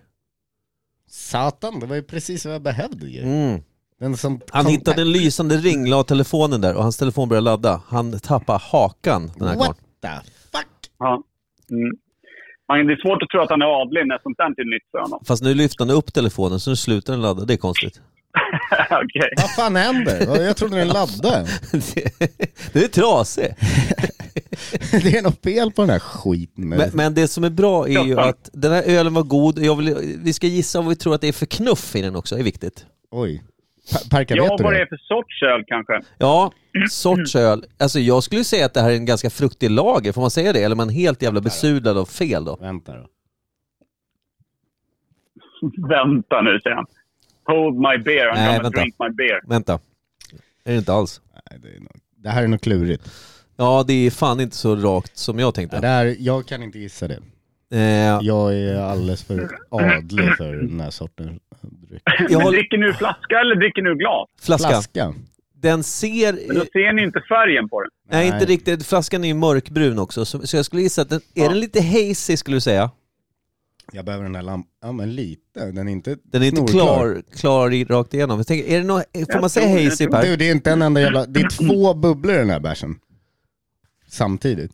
Speaker 4: Satan, det var ju precis vad jag behövde ju.
Speaker 1: Mm.
Speaker 4: Den som
Speaker 1: Han
Speaker 4: kom-
Speaker 1: hittade en lysande ring, la telefonen där och hans telefon började ladda. Han tappade hakan den här gången.
Speaker 4: What the fuck?
Speaker 3: Ja. Mm. Men det är svårt att tro att han är adlig när sånt där är nytt för honom.
Speaker 1: Fast nu lyfte han upp telefonen så nu slutar den ladda. Det är konstigt.
Speaker 3: Okej.
Speaker 4: Vad fan händer? Jag trodde den laddade.
Speaker 1: Det är trasig.
Speaker 4: Det är något fel på den här skiten.
Speaker 1: Men, men det som är bra är ju
Speaker 3: Ja.
Speaker 1: att den här ölen var god. Jag vill, vi ska gissa vad vi tror att det är för knuff i den också. Det är viktigt.
Speaker 4: Oj. Per- Perka,
Speaker 3: Ja,
Speaker 4: vet du
Speaker 3: vad det
Speaker 4: det?
Speaker 3: är för sorts öl kanske.
Speaker 1: Ja,
Speaker 3: Mm.
Speaker 1: sorts öl. Alltså jag skulle säga att det här är en ganska fruktig lager. Får man säga det? Eller är man helt jävla besudlad av fel då?
Speaker 4: Vänta då.
Speaker 3: Vänta nu, säger han. Hold my beer, I'm
Speaker 1: Nej,
Speaker 3: gonna
Speaker 1: vänta.
Speaker 3: drink my beer.
Speaker 1: Vänta. Är det inte alls?
Speaker 4: Nej, det, är nog... det här är något klurigt.
Speaker 1: Ja, det är fan inte så rakt som jag
Speaker 4: Det
Speaker 1: tänkte.
Speaker 4: här, jag kan inte gissa det.
Speaker 1: Eh,
Speaker 4: Jag är alldeles för adlig för den här sorten dryck.
Speaker 1: jag
Speaker 3: Men
Speaker 1: håller
Speaker 3: dricker ni ur flaska eller dricker ni ur glas?
Speaker 1: flaskan.
Speaker 4: Flaska.
Speaker 1: Den ser...
Speaker 3: Då ser ni inte färgen på den.
Speaker 1: Nej, inte
Speaker 4: Nej.
Speaker 1: riktigt. Flaskan är ju mörkbrun också, så, så jag skulle gissa att den, är den lite hazy skulle du säga?
Speaker 4: Jag behöver den där lampan. Ja men lite. Den är inte
Speaker 1: Den är inte
Speaker 4: snorklar.
Speaker 1: klar, klar i, rakt igenom. Jag tänker, är det nå- får man
Speaker 3: Jag
Speaker 1: säga
Speaker 3: tror- jag
Speaker 1: hazy
Speaker 3: tror-
Speaker 1: Per?
Speaker 4: Du, det är inte en enda jävla... Det är två bubblor i den här bärsen. Samtidigt.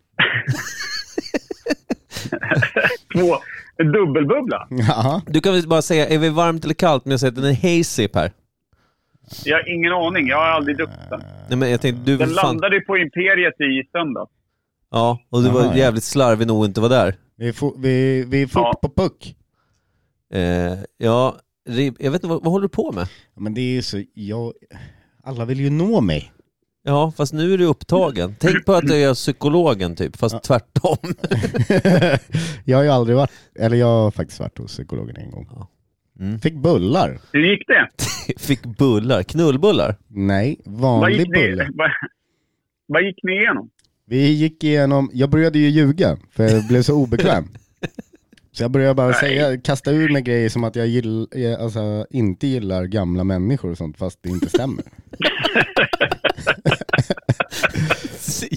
Speaker 3: Två, en dubbelbubbla.
Speaker 4: Jaha.
Speaker 1: Du kan väl bara säga, är vi varmt eller kallt? Men jag säger att den är hazy Per.
Speaker 3: Jag har ingen aning, jag har aldrig druckit den.
Speaker 1: Nej men jag tänkte, du
Speaker 3: Den
Speaker 1: vill fan...
Speaker 3: landade ju på Imperiet i söndag.
Speaker 1: Ja, och du
Speaker 4: Jaha,
Speaker 1: var
Speaker 4: ja.
Speaker 1: jävligt slarvig nog att inte var där.
Speaker 4: Vi är, fo- vi, vi är fort
Speaker 3: Ja.
Speaker 4: på puck.
Speaker 1: Eh, ja, rib- jag vet inte, vad, vad håller du på med?
Speaker 4: Men det är ju så, jag, alla vill ju nå mig.
Speaker 1: Ja, fast nu är du upptagen. Tänk på att du är psykologen typ, fast
Speaker 4: Ja.
Speaker 1: tvärtom.
Speaker 4: jag har ju aldrig varit, eller jag har faktiskt varit hos psykologen en gång.
Speaker 1: Mm.
Speaker 4: Fick bullar.
Speaker 3: Hur gick det?
Speaker 1: Fick bullar, knullbullar.
Speaker 4: Nej,
Speaker 3: Vad gick,
Speaker 4: vanlig
Speaker 3: ni,
Speaker 4: bulle.
Speaker 3: vad, vad gick ni igenom?
Speaker 4: Vi gick igenom, jag började ju ljuga för jag blev så obekväm. Så jag började bara säga, kasta ur mig grejer som att jag gill, eh, alltså, inte gillar gamla människor och sånt fast det inte stämmer.
Speaker 3: Du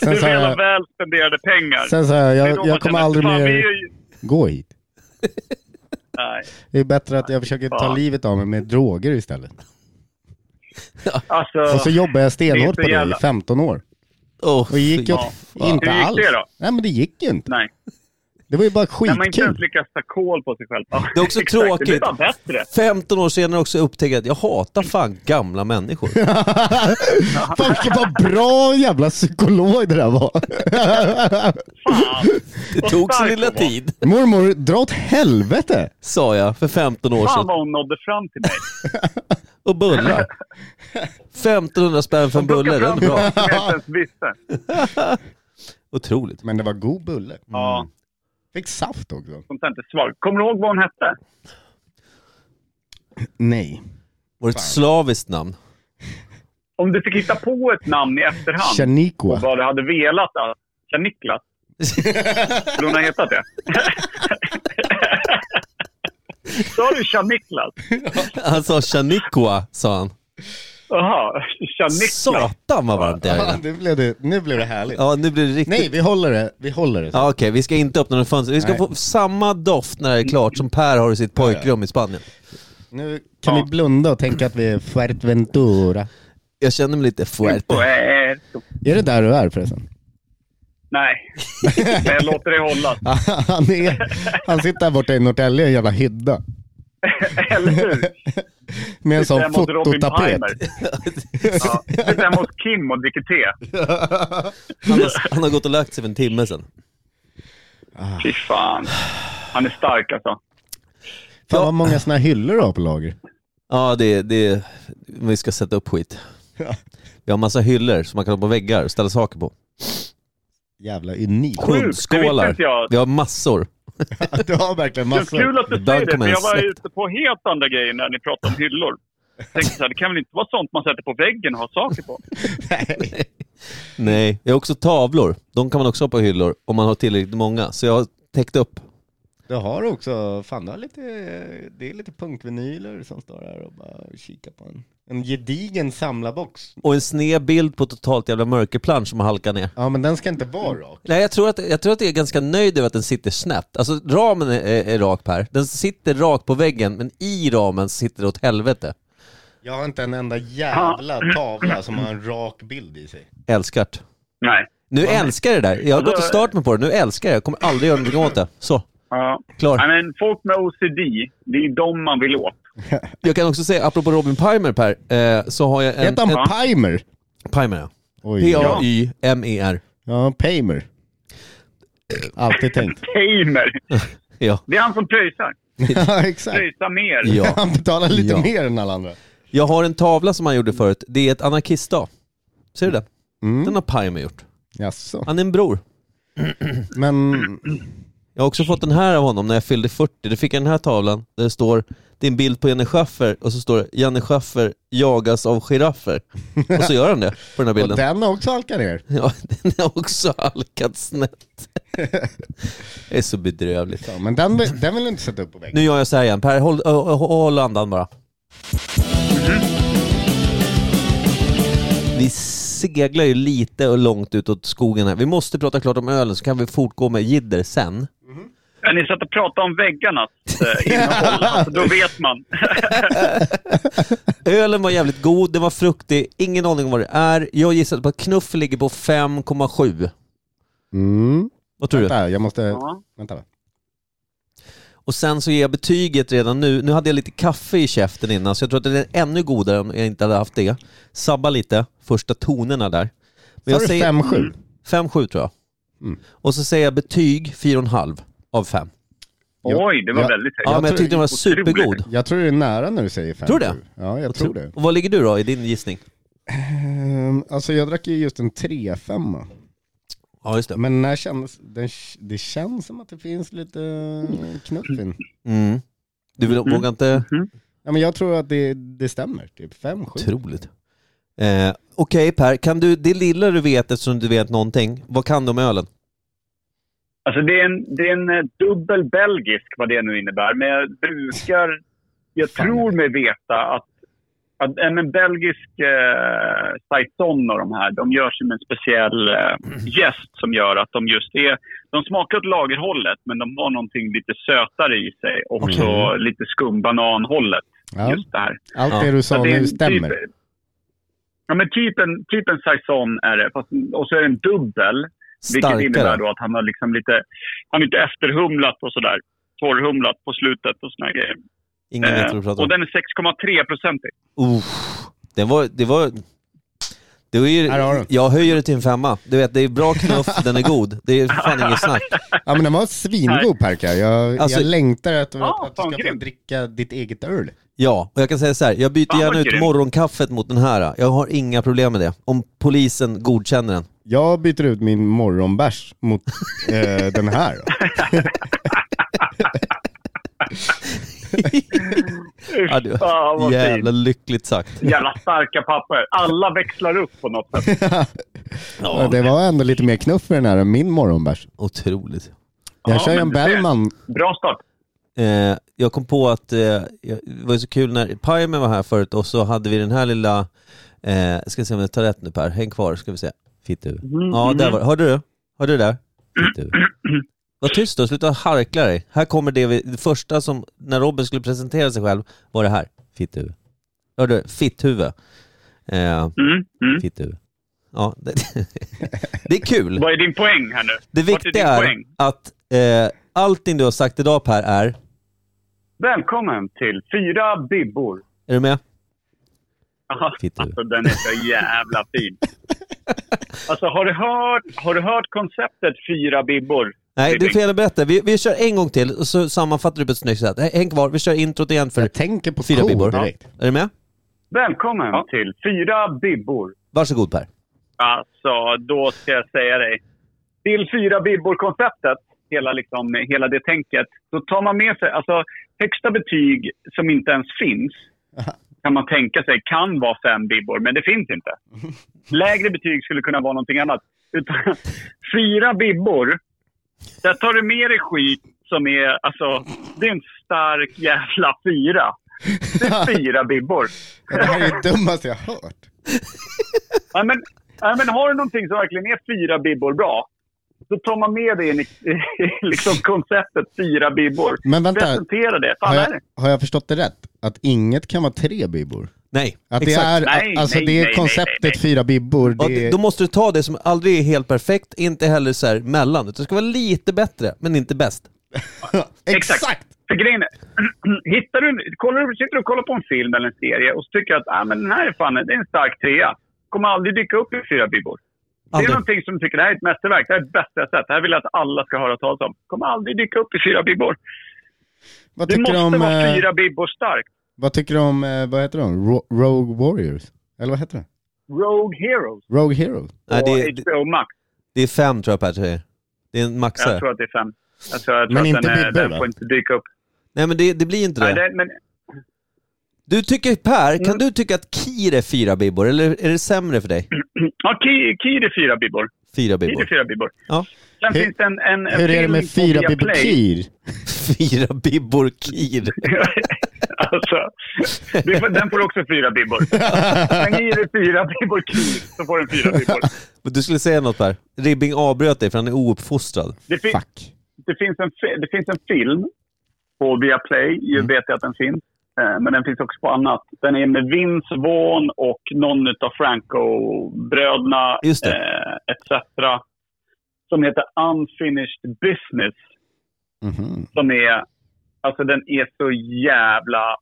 Speaker 4: Sen sa
Speaker 3: menar
Speaker 4: jag,
Speaker 3: väl spenderade pengar.
Speaker 4: sen sa jag,
Speaker 3: Det är då
Speaker 4: jag,
Speaker 3: man
Speaker 4: jag kommer
Speaker 3: känner,
Speaker 4: aldrig
Speaker 3: fan, vi
Speaker 4: mer
Speaker 3: är ju-
Speaker 4: gå hit.
Speaker 3: Nej.
Speaker 4: Det är bättre att jag försöker ta
Speaker 3: fan.
Speaker 4: livet av mig med droger istället.
Speaker 3: Alltså,
Speaker 4: Och så jobbar jag stenhårt på
Speaker 3: så
Speaker 4: det i
Speaker 3: jävla-
Speaker 4: 15 år.
Speaker 1: Åh,
Speaker 4: Och det gick
Speaker 1: fy
Speaker 4: ju
Speaker 1: fan.
Speaker 4: inte
Speaker 3: Hur gick
Speaker 4: alls.
Speaker 3: det då?
Speaker 4: Nej men det gick ju inte.
Speaker 3: nej.
Speaker 4: Det var ju bara
Speaker 3: När man inte ens
Speaker 4: skitkul.
Speaker 3: lyckas ta koll på sig själv. Ja,
Speaker 1: Det är också
Speaker 3: exakt. Det blir
Speaker 1: tråkigt.
Speaker 3: bara bättre.
Speaker 1: 15 år senare också upptäcker jag att jag hatar fan gamla människor.
Speaker 3: liksom-
Speaker 4: Fan vilken vad bra jävla psykolog det där var.
Speaker 3: Fan.
Speaker 1: Det
Speaker 3: Vad
Speaker 1: tog sin
Speaker 3: stark
Speaker 1: lilla
Speaker 3: hon var.
Speaker 1: tid,
Speaker 4: Mormor, dra åt helvete!
Speaker 1: sa jag för 15 år
Speaker 3: Fan
Speaker 1: sedan.
Speaker 3: vad hon nådde fram till mig.
Speaker 1: Och bullar. 1500 spänn för en bulle, den är bra. Mm.
Speaker 3: som jag inte ens visste.
Speaker 1: Otroligt.
Speaker 4: Men det var god bulle.
Speaker 3: Ja,
Speaker 4: Fick saft också.
Speaker 3: sånt där inte svar. Kommer du ihåg vad hon hette?
Speaker 4: Nej.
Speaker 1: Var det ett slaviskt namn?
Speaker 3: Om du fick hitta på ett namn i efterhand,
Speaker 4: Chanikwa.
Speaker 3: vad du hade velat att... Tja, Niklas. Skulle hon ha hetat det? Sa du Tja Niklas?
Speaker 1: Han sa Chanikwa, sa han.
Speaker 3: Jaha, Tja Niklas.
Speaker 1: Satan vad varmt det är
Speaker 4: Ja,
Speaker 1: inne.
Speaker 4: nu, blev det, nu blev det härligt.
Speaker 1: Ja, nu blir det riktigt...
Speaker 4: Nej, vi håller det. Vi håller det.
Speaker 1: Ja, Okej, vi ska inte öppna några fönster. Vi ska
Speaker 4: Nej.
Speaker 1: få samma doft när det är klart som Per har i sitt pojkrum i Spanien.
Speaker 4: Nu kan
Speaker 3: Ja.
Speaker 4: vi blunda och tänka att vi är Fuerteventura.
Speaker 1: Jag känner mig lite fuerte.
Speaker 3: Puerto.
Speaker 4: Är det där du är förresten?
Speaker 3: Nej, men jag låter dig hållas.
Speaker 4: han, är, han sitter där borta i Norrtälje i en jävla hydda.
Speaker 3: Eller hur?
Speaker 4: Med en
Speaker 3: Sitter
Speaker 4: sån
Speaker 3: hemma hos Robin
Speaker 4: fototapet.
Speaker 3: Palmer. Ja, sitter hemma hos Kim och dricker te.
Speaker 1: Han har, han har gått och lagt sig för en timme sedan. Ah.
Speaker 3: Fy fan. Han är stark alltså.
Speaker 4: Fan vad många såna här hyllor du har på lager.
Speaker 1: Ja, det är... Det är vi ska sätta upp skit. Vi har massa hyllor som man kan ha på väggar och ställa saker på.
Speaker 4: Jävla unik.
Speaker 3: Sjukt, det visste
Speaker 1: Hundskålar.
Speaker 3: inte jag.
Speaker 1: Vi har massor.
Speaker 4: Du har verkligen
Speaker 3: Det är kul
Speaker 4: massor.
Speaker 3: att du
Speaker 1: Ibland
Speaker 3: säger det,
Speaker 1: kommer
Speaker 3: för jag
Speaker 1: en
Speaker 3: var
Speaker 1: släkt.
Speaker 3: ute på helt andra grejer när ni pratade om hyllor. Jag tänkte så här, det kan väl inte vara sånt man sätter på väggen och har saker på?
Speaker 1: Nej, jag har också tavlor. De kan man också ha på hyllor om man har tillräckligt många. Så jag har täckt upp.
Speaker 4: Du har också, fan du har lite, det är lite punkvinyler som står här och bara kikar på en. En gedigen samlarbox.
Speaker 1: Och en sned bild på totalt jävla mörkerplan som har halkat ner.
Speaker 4: Ja men den ska inte vara rak.
Speaker 1: Nej, jag tror, att, jag tror att jag är ganska nöjd över att den sitter snett. Alltså ramen är, är, är rak Per. Den sitter rakt på väggen, men i ramen sitter det åt helvete.
Speaker 4: Jag har inte en enda jävla tavla som har en rak bild i sig.
Speaker 1: Älskar't.
Speaker 3: Nej.
Speaker 1: Nu älskar jag det där. Jag har gått och
Speaker 3: Alltså-
Speaker 1: stört mig på det. Nu älskar jag det. Jag kommer aldrig göra någonting åt det. Så,
Speaker 3: Ja. Nej,
Speaker 1: klar.
Speaker 3: men folk med OCD, det är de man vill åt.
Speaker 1: Jag kan också säga, apropå Robin Pimer Per, eh, så har jag en...
Speaker 4: Heter han
Speaker 1: en
Speaker 4: Pimer?
Speaker 1: Pimer ja.
Speaker 4: Oj. Ja,
Speaker 1: P-A-Y-M-E-R.
Speaker 4: ja Pimer. Alltid tänkt.
Speaker 3: Tamer!
Speaker 1: Ja.
Speaker 3: Det är han som pröjsar.
Speaker 4: ja exakt.
Speaker 3: Pröjsa mer.
Speaker 1: ja.
Speaker 4: Han betalar lite
Speaker 1: Ja.
Speaker 4: mer än alla andra.
Speaker 1: Jag har en tavla som han gjorde förut. Det är ett anarkistdag. Ser du den?
Speaker 4: Mm.
Speaker 1: Den har Pimer gjort.
Speaker 4: Jaså.
Speaker 1: Han är en bror.
Speaker 4: Men,
Speaker 1: Jag har också fått den här av honom när jag fyllde 40. Då fick jag den här tavlan där det står, det är en bild på Janne Schaffer och så står det Janne Schaffer jagas av giraffer. Och så gör han det på den här
Speaker 4: och
Speaker 1: bilden.
Speaker 4: den har också halkat ner.
Speaker 1: Ja, den har också halkat snett. Det är så bedrövligt.
Speaker 4: Ja, men den, vill- den vill du inte sätta upp på väggen.
Speaker 1: Nu gör jag så här igen. Per, håll, ö- ö- håll andan bara. Vi seglar ju lite och långt utåt skogen här. Vi måste prata klart om ölen så kan vi fortgå med jidder sen.
Speaker 3: Men ni satt och pratade om väggarnas eh, innehåll, alltså, då vet man.
Speaker 1: Ölen var jävligt god, den var fruktig, ingen aning om vad det är. Jag gissade på att knuff ligger på 5,7.
Speaker 4: Mm.
Speaker 1: Vad tror du?
Speaker 4: Vänta, jag måste...
Speaker 3: Ja.
Speaker 4: Vänta.
Speaker 1: Och sen så ger jag betyget redan nu. Nu hade jag lite kaffe i käften innan så jag tror att den är ännu godare om jag inte hade haft det. Sabba lite, första tonerna där. Men
Speaker 4: Sa du 5-7?
Speaker 1: 5,7 tror jag. Och så säger jag betyg 4,5 av 5.
Speaker 3: Oj, det var
Speaker 4: Ja.
Speaker 3: väldigt högt.
Speaker 1: Ja, men jag
Speaker 4: tror-
Speaker 1: tyckte den var
Speaker 3: otroligt.
Speaker 1: supergod.
Speaker 4: Jag tror det är nära när du säger 5
Speaker 1: Tror du det?
Speaker 4: Ja, jag tror det.
Speaker 1: Och vad ligger du då i din gissning?
Speaker 4: Ehm, alltså jag drack ju just en 3-5.
Speaker 1: Ja, just det.
Speaker 4: Men den här känns, den, det känns som att det finns lite eh, knuff i den.
Speaker 1: Mm. Du vill, vågar inte?
Speaker 4: Ja, men jag tror att det, det stämmer, typ 5-7.
Speaker 1: Otroligt. Eh, Okej Per, kan du, det lilla du vet eftersom du vet någonting, vad kan du om ölen?
Speaker 3: Alltså det är en, det är en eh, dubbel belgisk, vad det nu innebär. Men jag brukar, jag
Speaker 4: Fan.
Speaker 3: tror mig veta att, att äh, men belgisk eh, saison och de här, de görs ju med en speciell eh, jäst som gör att de just är, de smakar åt lagerhållet men de har någonting lite sötare i sig och
Speaker 1: Okej.
Speaker 3: så lite skumbananhållet.
Speaker 4: Ja,
Speaker 3: Just det här.
Speaker 4: allt
Speaker 1: Ja.
Speaker 4: det du
Speaker 3: Så
Speaker 4: sa
Speaker 3: det är en
Speaker 4: nu stämmer.
Speaker 3: Typ, ja, men typ en, typ en saison är det. Fast, och så är det en dubbel. Vilket innebär
Speaker 1: Starkare?
Speaker 3: då att han har liksom lite, han har inte efterhumlat och sådär. Torrhumlat på slutet och såna grejer.
Speaker 1: Ingen vet vad du
Speaker 3: Eh,
Speaker 1: pratar
Speaker 3: och
Speaker 1: om.
Speaker 3: den är 6,3 procentig.
Speaker 1: Uff. Det var... Det var det var ju,
Speaker 4: Här har du.
Speaker 1: jag höjer det till en femma. Du vet, det är bra knuff, den är god. Det är fan inget snack.
Speaker 4: Ja men den var svingod Perka, jag,
Speaker 1: Alltså-
Speaker 4: jag längtar att,
Speaker 3: Ja,
Speaker 4: att du
Speaker 3: fan,
Speaker 4: ska få
Speaker 3: grymt.
Speaker 4: dricka ditt eget öl.
Speaker 1: Ja, och jag kan säga så här, jag byter
Speaker 3: Fan, vad
Speaker 1: gärna ut
Speaker 3: grymt.
Speaker 1: morgonkaffet mot den här. Jag har inga problem med det. Om polisen godkänner den.
Speaker 4: Jag byter ut min morgonbärs mot eh, den här. Då.
Speaker 1: Ja, du,
Speaker 3: Fan, vad
Speaker 1: jävla
Speaker 3: fint.
Speaker 1: lyckligt sagt.
Speaker 3: Jävla starka papper. Alla växlar upp på något sätt.
Speaker 4: Ja, det var ändå lite mer knuff i den här än min morgonbärs.
Speaker 1: Otroligt.
Speaker 4: Jag
Speaker 3: Ja,
Speaker 4: kör ju
Speaker 3: men
Speaker 4: en
Speaker 3: du ser.
Speaker 4: Bellman.
Speaker 3: Bra start.
Speaker 1: Eh, jag kom på att eh, jag- det var ju så kul när Pajmen var här förut och så hade vi den här lilla, eh, ska se om jag tar rätt nu Per, häng kvar ska vi se. Fitt
Speaker 3: Mm,
Speaker 1: du. Ja, där var det. Hörde du? Hörde du det där? Fitt du. Var tyst då, sluta harkla dig. Här kommer det, vi, det första som, när Robin skulle presentera sig själv, var det här. Fitt du. Hörde du? Fitthuvud. Eh,
Speaker 3: Mm, mm.
Speaker 1: fitt du. Ja, det, det är kul.
Speaker 3: Vad är din poäng här nu?
Speaker 1: Det
Speaker 3: Vart
Speaker 1: viktiga
Speaker 3: är din
Speaker 1: är
Speaker 3: poäng?
Speaker 1: att eh, allting du har sagt idag Per är,
Speaker 3: Välkommen till Fyra Bibbor.
Speaker 1: är du med?
Speaker 3: Jaha,
Speaker 1: Titta.
Speaker 3: Alltså den är så jävla fin. Alltså har du hört, har du hört konceptet Fyra Bibbor?
Speaker 1: Nej, du
Speaker 3: Bibbing?
Speaker 1: får gärna berätta. Vi, vi kör en gång till och så sammanfattar du på ett snyggt sätt. Häng häng kvar, vi kör introt igen för
Speaker 4: Jag tänker på
Speaker 1: fyra
Speaker 4: ko
Speaker 1: bibbor.
Speaker 4: direkt.
Speaker 1: Är du med?
Speaker 3: Välkommen till Fyra Bibbor.
Speaker 1: Varsågod Per.
Speaker 3: Alltså, då ska jag säga dig. Till fyra bibbor-konceptet, hela, liksom, hela det tänket, då tar man med sig, alltså högsta betyg som inte ens finns, kan man tänka sig kan vara fem bibbor, men det finns inte. Lägre betyg skulle kunna vara någonting annat. Utan, fyra bibbor, där tar du med dig skit som är, alltså, det är en stark jävla fyra. Det är fyra bibbor.
Speaker 4: Ja, Det här är det dummaste jag har hört.
Speaker 3: Ja, men, ja, men har du någonting som verkligen är fyra bibbor bra, så tar man med det in i i liksom konceptet fyra bibbor.
Speaker 4: Men vänta.
Speaker 3: Presentera det. Fan,
Speaker 4: Har
Speaker 3: är det?
Speaker 4: jag, har jag förstått det rätt? Att inget kan vara tre bibbor?
Speaker 1: Nej,
Speaker 4: Att det
Speaker 1: exakt.
Speaker 4: är,
Speaker 3: Nej,
Speaker 4: alltså
Speaker 3: nej,
Speaker 4: det
Speaker 3: nej,
Speaker 4: är
Speaker 3: nej,
Speaker 4: konceptet
Speaker 3: nej, nej.
Speaker 4: fyra bibbor,
Speaker 1: Och
Speaker 4: det
Speaker 1: då måste du ta det som aldrig är helt perfekt, inte heller så här mellan. Utan det ska vara lite bättre, men inte bäst.
Speaker 4: Exakt!
Speaker 3: För grejen är, hittar du, kollar du, sitter du och kollar på en film eller en serie och så tycker du att ah, men den här är fan, det är en stark trea. Kommer aldrig dyka upp i fyra bibbor. Det är
Speaker 1: Aldrig.
Speaker 3: någonting som du tycker det här är ett mästerverk, det här är det bästa jag sett, det här vill jag att alla ska höra talas om. Kommer aldrig dyka upp i fyra bibbor.
Speaker 4: Vad
Speaker 3: Det
Speaker 4: tycker
Speaker 3: måste
Speaker 4: du om,
Speaker 3: vara
Speaker 4: eh,
Speaker 3: fyra bibbor starkt.
Speaker 4: vad tycker du om, eh, vad heter de? Ro- Rogue Warriors? Eller vad heter det?
Speaker 3: Rogue Heroes
Speaker 4: Rogue Heroes?
Speaker 1: Nej,
Speaker 3: och
Speaker 1: det, är-
Speaker 3: HBO Max.
Speaker 1: det är fem tror jag Per säger. Det är en
Speaker 3: Jag
Speaker 1: maxare.
Speaker 3: tror att det är fem. Jag tror, jag tror
Speaker 4: Men
Speaker 3: att
Speaker 4: inte
Speaker 3: den, är,
Speaker 4: Bibbe,
Speaker 3: den
Speaker 4: va?
Speaker 3: får inte dyka upp.
Speaker 1: Nej men det, det blir inte
Speaker 3: Nej, Mm.
Speaker 1: det.
Speaker 3: den, men,
Speaker 1: Du tycker Per, kan du tycka att Kir är fyra bibbor eller är det sämre för dig?
Speaker 3: ja, Ki- Kir är fyra bibbor.
Speaker 1: Fyra
Speaker 3: Kir är
Speaker 1: bibbor.
Speaker 3: fyra bibbor.
Speaker 1: Ja.
Speaker 3: Sen
Speaker 4: Hur-
Speaker 3: finns det en, en en
Speaker 4: Hur är det
Speaker 3: film
Speaker 4: med
Speaker 3: på
Speaker 4: fyra
Speaker 3: Viaplay.
Speaker 4: bibbor kir?
Speaker 1: Fyra bibbor Kir.
Speaker 3: alltså, det får, den får också fyra bibbor. Sen Kir är fyra bibbor Kir, så får den fyra bibbor.
Speaker 1: Men Du skulle säga något Per. Ribbing avbröt dig för han är ouppfostrad.
Speaker 3: Det, fin,
Speaker 4: Fuck.
Speaker 3: det, finns en, fi- det finns en film på Viaplay, ju
Speaker 1: Mm.
Speaker 3: vet jag att den finns. Eh, Men den finns också på annat. Den är med Vince Vaughn och någon av Franco-bröderna
Speaker 1: Just det.
Speaker 3: eh, etc. Som heter Unfinished Business.
Speaker 4: Mhm.
Speaker 3: Som är, alltså den är så jävla...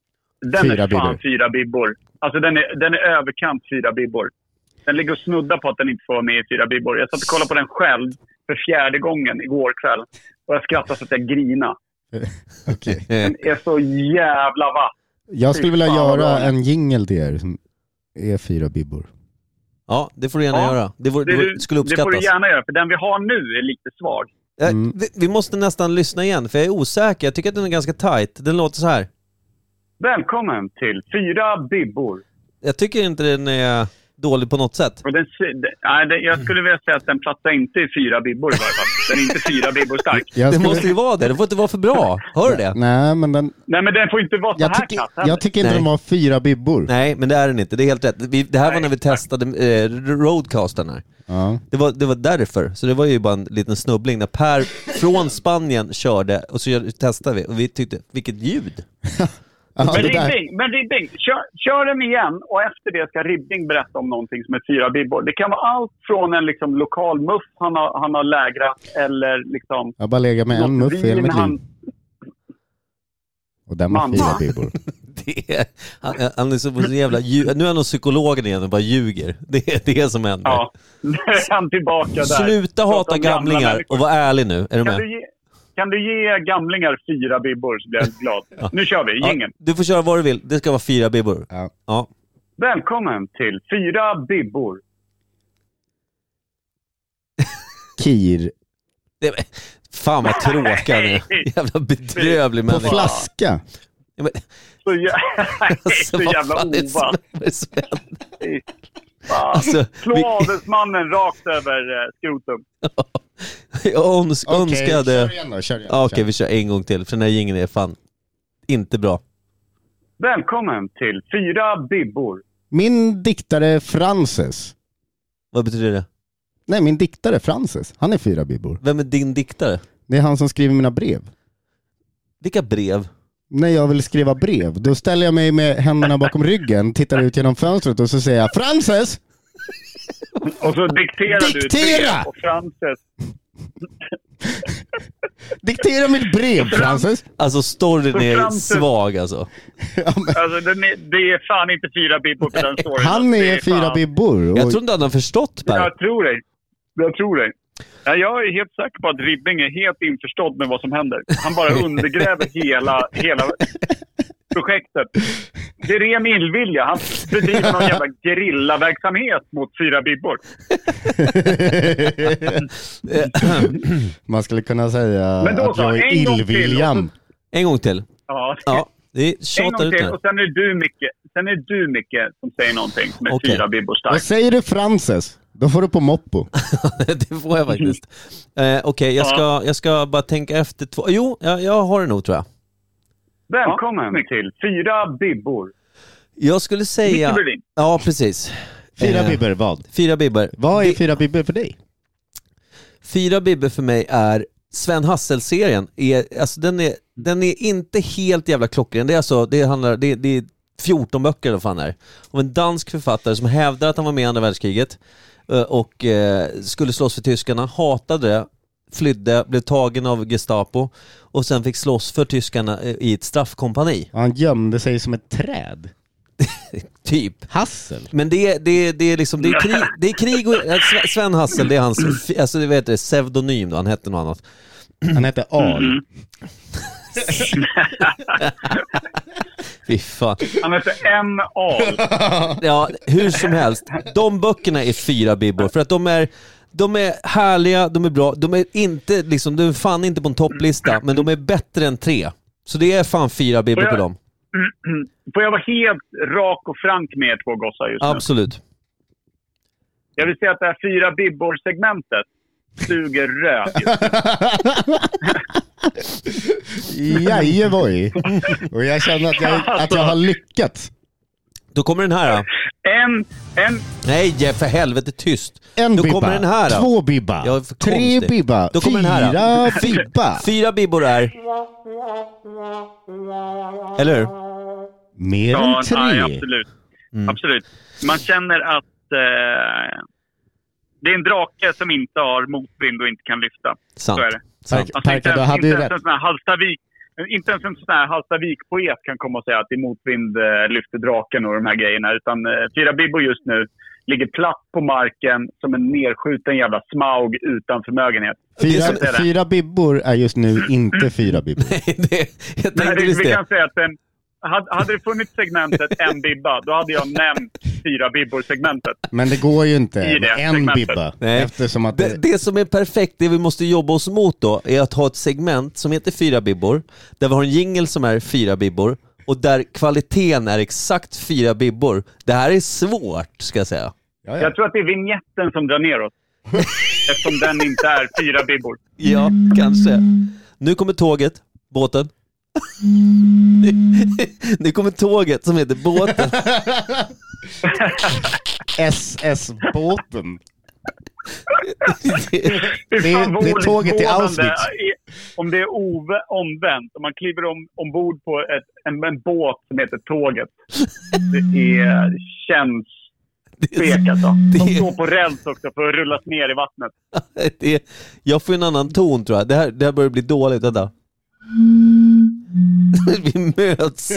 Speaker 3: Den
Speaker 4: Fyra
Speaker 3: är fan
Speaker 4: bibbor.
Speaker 3: fyra bibbor. Alltså den är, den är överkant fyra bibbor. Den ligger och snuddar på att den inte får vara med i fyra bibbor. Jag satt och kollade på den själv. för fjärde gången igår kväll. Och jag skrattade så att jag grinade.
Speaker 4: Okej.
Speaker 1: Eh,
Speaker 3: Den är så jävla vass.
Speaker 4: Jag skulle vilja
Speaker 3: Fy fan, vad
Speaker 4: göra
Speaker 3: bra.
Speaker 4: en jingle till er som är fyra bibbor.
Speaker 1: Ja, det får du gärna
Speaker 3: Ja.
Speaker 1: göra. Det, vore, det, vore, skulle
Speaker 3: det får du
Speaker 1: uppskattas.
Speaker 3: gärna göra, för den vi har nu är lite svag.
Speaker 1: Eh,
Speaker 4: Mm.
Speaker 1: vi- Vi måste nästan lyssna igen, för jag är osäker. Jag tycker att den är ganska tight. Den låter så här.
Speaker 3: Välkommen till Fyra Bibbor.
Speaker 1: Jag tycker inte den är dålig på något sätt.
Speaker 3: Och den, nej, den, jag skulle vilja säga att den platsar inte i Fyra Bibbor i varje fall. Den är inte Fyra Bibbor stark.
Speaker 4: Jag
Speaker 1: Det
Speaker 4: skulle-
Speaker 1: måste ju vara det. Det får inte vara för bra. Hör du det?
Speaker 4: Nej, men den,
Speaker 3: Nej, men den får inte vara så
Speaker 4: jag,
Speaker 3: här
Speaker 4: tycker,
Speaker 3: knapp heller.
Speaker 4: jag tycker inte
Speaker 1: Nej.
Speaker 4: den var fyra bibbor.
Speaker 1: Nej, men det är den inte. Det är helt rätt. Vi, det här var
Speaker 3: Nej,
Speaker 1: när vi testade eh, roadcasten här.
Speaker 4: Ja.
Speaker 1: Det var, det var därför. Så det var ju bara en liten snubbling när Per från Spanien körde och så gör- testade vi och vi tyckte, vilket ljud! Alltså,
Speaker 4: Ja,
Speaker 3: Men
Speaker 4: Alltså, det där-
Speaker 3: Ribbing, men Ribbing kör, kör den igen och efter det ska Ribbing berätta om någonting som är fyra bibbor. Det kan vara allt från en liksom, lokal muff han har, han har lägrat eller liksom...
Speaker 4: Jag har bara legat med en
Speaker 3: något
Speaker 4: muff i hela
Speaker 3: vin
Speaker 4: mitt
Speaker 3: han-
Speaker 4: liv. Och den var
Speaker 3: Mamma.
Speaker 4: fyra bibbor.
Speaker 1: Det är, han, han är så så jävla ljug, Nu är han hos psykologen igen och bara ljuger. Det är det som händer.
Speaker 3: Ja, nu är han tillbaka där.
Speaker 1: Sluta
Speaker 3: Prata
Speaker 1: hata
Speaker 3: om gamla
Speaker 1: gamlingar
Speaker 3: människor.
Speaker 1: och var ärlig nu. Är du
Speaker 3: Kan
Speaker 1: med?
Speaker 3: du, ge, kan du ge gamlingar fyra bibbor så blir jag glad. Nu kör vi,
Speaker 1: Ja,
Speaker 3: gängen.
Speaker 1: du får köra vad du vill. Det ska vara fyra bibbor.
Speaker 4: Ja.
Speaker 1: Ja.
Speaker 3: Välkommen till Fyra bibbor.
Speaker 4: Kir.
Speaker 1: Det, fan vad tråkiga ni är. Jävla bedrövlig
Speaker 4: På
Speaker 1: människa.
Speaker 4: flaska.
Speaker 1: Ja, men,
Speaker 3: Så, jä...
Speaker 1: alltså,
Speaker 3: så
Speaker 1: vad
Speaker 3: jävla
Speaker 1: fan är det som
Speaker 3: ovant.
Speaker 1: händer, Sven?
Speaker 3: Fy fan.
Speaker 1: Alltså,
Speaker 3: Slå
Speaker 1: vi-
Speaker 3: adelsmannen rakt över eh, skrotum.
Speaker 1: Jag öns önskade...
Speaker 4: kör igen då. Kör igen.
Speaker 1: Ja, Okej,
Speaker 4: Kör.
Speaker 1: vi kör en gång till, för den här jingeln är fan inte bra.
Speaker 3: Välkommen till Fyra Bibbor.
Speaker 4: Min diktare Frances.
Speaker 1: Vad betyder det?
Speaker 4: Nej, min diktare Frances. Han är fyra bibbor.
Speaker 1: Vem är din diktare?
Speaker 4: Det är han som skriver mina brev.
Speaker 1: Vilka brev?
Speaker 4: När jag vill skriva brev, då ställer jag mig med händerna bakom ryggen, tittar ut genom fönstret och så säger jag Frances!
Speaker 3: Och så dikterar du ett
Speaker 4: Diktera!
Speaker 3: brev. Och Frances,
Speaker 4: Diktera mitt brev Frances!
Speaker 1: Alltså storyn
Speaker 3: För
Speaker 1: är
Speaker 3: framtiden.
Speaker 1: svag alltså.
Speaker 4: Ja, men
Speaker 3: alltså den är, det är fan inte fyra bibbor på den storyn.
Speaker 4: Han
Speaker 3: Det
Speaker 4: är fyra
Speaker 3: fan-
Speaker 4: bibbor.
Speaker 1: Jag
Speaker 4: och-
Speaker 1: tror inte han har förstått Per.
Speaker 3: Jag tror dig. Jag tror dig. Ja, jag är helt säker på att Ribbing är helt införstådd med vad som händer. Han bara undergräver hela, hela projektet. Det är ren illvilja. Han bedriver någon jävla gerillaverksamhet mot fyra bibbor.
Speaker 1: Eh,
Speaker 4: Man skulle kunna säga
Speaker 3: Men då
Speaker 4: att
Speaker 3: så,
Speaker 4: jag är
Speaker 3: en gång till
Speaker 4: illviljan.
Speaker 3: och
Speaker 1: En gång till.
Speaker 3: Ja.
Speaker 1: Ja, det
Speaker 3: En
Speaker 1: tjatar
Speaker 3: gång
Speaker 1: ut
Speaker 3: till
Speaker 1: nu.
Speaker 3: och sen är det du Micke, sen är det du Micke som säger någonting som är
Speaker 1: Okej.
Speaker 3: fyra bibbor
Speaker 4: Och
Speaker 3: starkt.
Speaker 4: säger du Frances, då får du på moppo.
Speaker 1: det får jag faktiskt. Eh, Okej, jag, ska, jag ska bara tänka efter två... Jo, jag, jag har det nog tror jag.
Speaker 3: Välkommen till Fyra bibbor.
Speaker 1: Jag skulle
Speaker 3: Micke
Speaker 1: säga...
Speaker 3: Berlin.
Speaker 1: Ja, precis.
Speaker 4: Fyra
Speaker 1: Eh,
Speaker 4: bibbor, vad?
Speaker 1: Fyra bibbor.
Speaker 4: Vad är
Speaker 1: Det-
Speaker 4: fyra bibbor för dig?
Speaker 1: Fyra bibbor för mig är Sven Hassel-serien. Är, alltså den, är, den är inte helt jävla klockren. Det är, alltså, det handlar, det, det är 14 böcker eller vad fan det är. Om en dansk författare som hävdar att han var med i andra världskriget eh, och eh, skulle slåss för tyskarna, hatade det, flydde, blev tagen av Gestapo och sen fick slåss för tyskarna eh, i ett straffkompani.
Speaker 4: Han gömde sig som ett träd.
Speaker 1: Typ.
Speaker 4: Hassel.
Speaker 1: Men det, det, det är liksom, det är krig, det är krig och, eh, Sve- Sven Hassel, det är hans, fi- alltså det heter det, pseudonym då, han hette något annat.
Speaker 4: Han hette Al.
Speaker 3: Mm-hmm.
Speaker 1: Fy fan.
Speaker 3: Han heter M. Ahl.
Speaker 1: Ja, hur som helst. De böckerna är fyra bibbor för att de är de är härliga, de är bra, de är inte liksom, de är fan inte på en topplista, men de är bättre än tre. Så det är fan fyra bibbor på dem.
Speaker 3: Får jag vara helt rak och frank med er två gossar just nu?
Speaker 1: Absolut.
Speaker 3: Jag vill säga att det här Fyra bibbor-segmentet suger röv.
Speaker 4: Jajevoj. Och jag känner att jag,
Speaker 3: Alltså.
Speaker 4: att jag har lyckats.
Speaker 1: Då kommer den här. Då.
Speaker 3: En, en,
Speaker 1: Nej, för helvete tyst.
Speaker 4: En
Speaker 1: Då
Speaker 4: bibba,
Speaker 1: kommer den här. Då.
Speaker 4: två bibba,
Speaker 1: Jag är för
Speaker 4: tre
Speaker 1: konstig.
Speaker 4: bibba,
Speaker 1: Då kommer den här,
Speaker 4: fyra bibba.
Speaker 1: Fyra bibbor är... Eller hur?
Speaker 4: Mer
Speaker 3: ja,
Speaker 4: än
Speaker 3: nej,
Speaker 4: tre.
Speaker 3: absolut. Absolut. Man känner att eh, det är en drake som inte har motvind och inte kan lyfta.
Speaker 1: Sant.
Speaker 3: Så är det.
Speaker 1: Sant.
Speaker 4: Tack. Perka,
Speaker 3: inte ens-
Speaker 4: du hade
Speaker 3: inte
Speaker 4: ju
Speaker 3: ens
Speaker 4: rätt.
Speaker 3: en sån här Hallstavik, Inte ens en sån här Hallstavik-poet kan komma och säga att i motvind eh, lyfter draken och de här grejerna. Utan eh, Fira Bibbo just nu ligger platt på marken som en nerskjuten jävla smaug utan förmögenhet.
Speaker 1: som-
Speaker 4: Fyra,
Speaker 3: det Mm-hmm. är det.
Speaker 4: fyra bibbor är just nu inte fyra bibbor.
Speaker 1: Nej, det, jag
Speaker 3: Nej,
Speaker 1: tänkte
Speaker 3: det,
Speaker 1: just
Speaker 3: vi
Speaker 1: det.
Speaker 3: kan säga att den, hade, hade det funnits segmentet en bibba, då hade jag nämnt fyra bibbor-segmentet.
Speaker 4: Men det går ju inte
Speaker 3: I det
Speaker 4: med en
Speaker 3: segmentet.
Speaker 4: bibba.
Speaker 1: Nej.
Speaker 4: Eftersom att
Speaker 1: Det,
Speaker 4: det,
Speaker 1: det som är perfekt, det vi måste jobba oss mot då, är att ha ett segment som heter Fyra bibbor, där vi har en jingle som är Fyra bibbor, och där kvaliteten är exakt fyra bibbor. Det här är svårt, ska jag säga.
Speaker 4: ja, ja.
Speaker 3: Jag tror att det är vignetten som drar ner oss. Eftersom den inte är fyra bibbor.
Speaker 1: Ja, kanske. Nu kommer tåget, båten. Nu- Nu kommer tåget som heter båten.
Speaker 4: SS-båten.
Speaker 3: Fy fan,
Speaker 4: Det-
Speaker 3: vad
Speaker 4: det är tåget till
Speaker 3: olycksbådande
Speaker 4: Auschwitz.
Speaker 3: är- Om det är ov- omvänt, om man kliver om, ombord på ett, en, en båt som heter Tåget. Det är, känns fek alltså. De
Speaker 1: det-
Speaker 3: står på räls också för att rullas ner i vattnet.
Speaker 1: Det är, jag får en annan ton tror jag. Det här, det här börjar bli dåligt. Vänta.
Speaker 4: Mm.
Speaker 1: Vi möts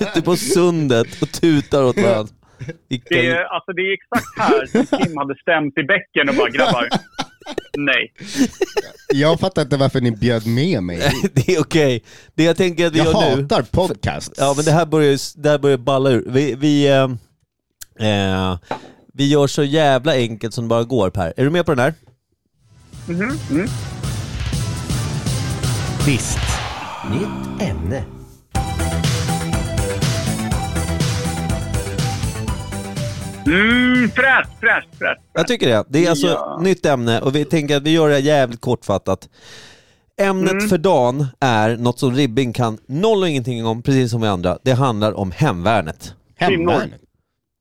Speaker 1: ute på sundet och tutar åt varandra. Vilken...
Speaker 3: Det är, alltså, det är exakt här som Kim hade stämt i bäcken och bara “grabbar, nej”.
Speaker 4: Jag fattar inte varför ni bjöd med mig hit.
Speaker 1: Det är okej. Det jag tänker att vi
Speaker 4: Jag
Speaker 1: gör nu...
Speaker 4: hatar podcasts.
Speaker 1: Ja, men det här börjar, ju- det här börjar balla ur. Vi, vi, eh, eh, vi gör så jävla enkelt som det bara går, Per. Är du med på den här?
Speaker 4: Visst.
Speaker 6: Nytt ämne.
Speaker 3: Mm, fräscht, fräscht, fräscht.
Speaker 1: Jag tycker det. Det är alltså
Speaker 3: Ja.
Speaker 1: nytt ämne och vi tänker att vi gör det här jävligt kortfattat. Ämnet för dagen är något som Ribbing kan noll och ingenting om, precis som vi andra. Det handlar om hemvärnet.
Speaker 4: Hemvärnet.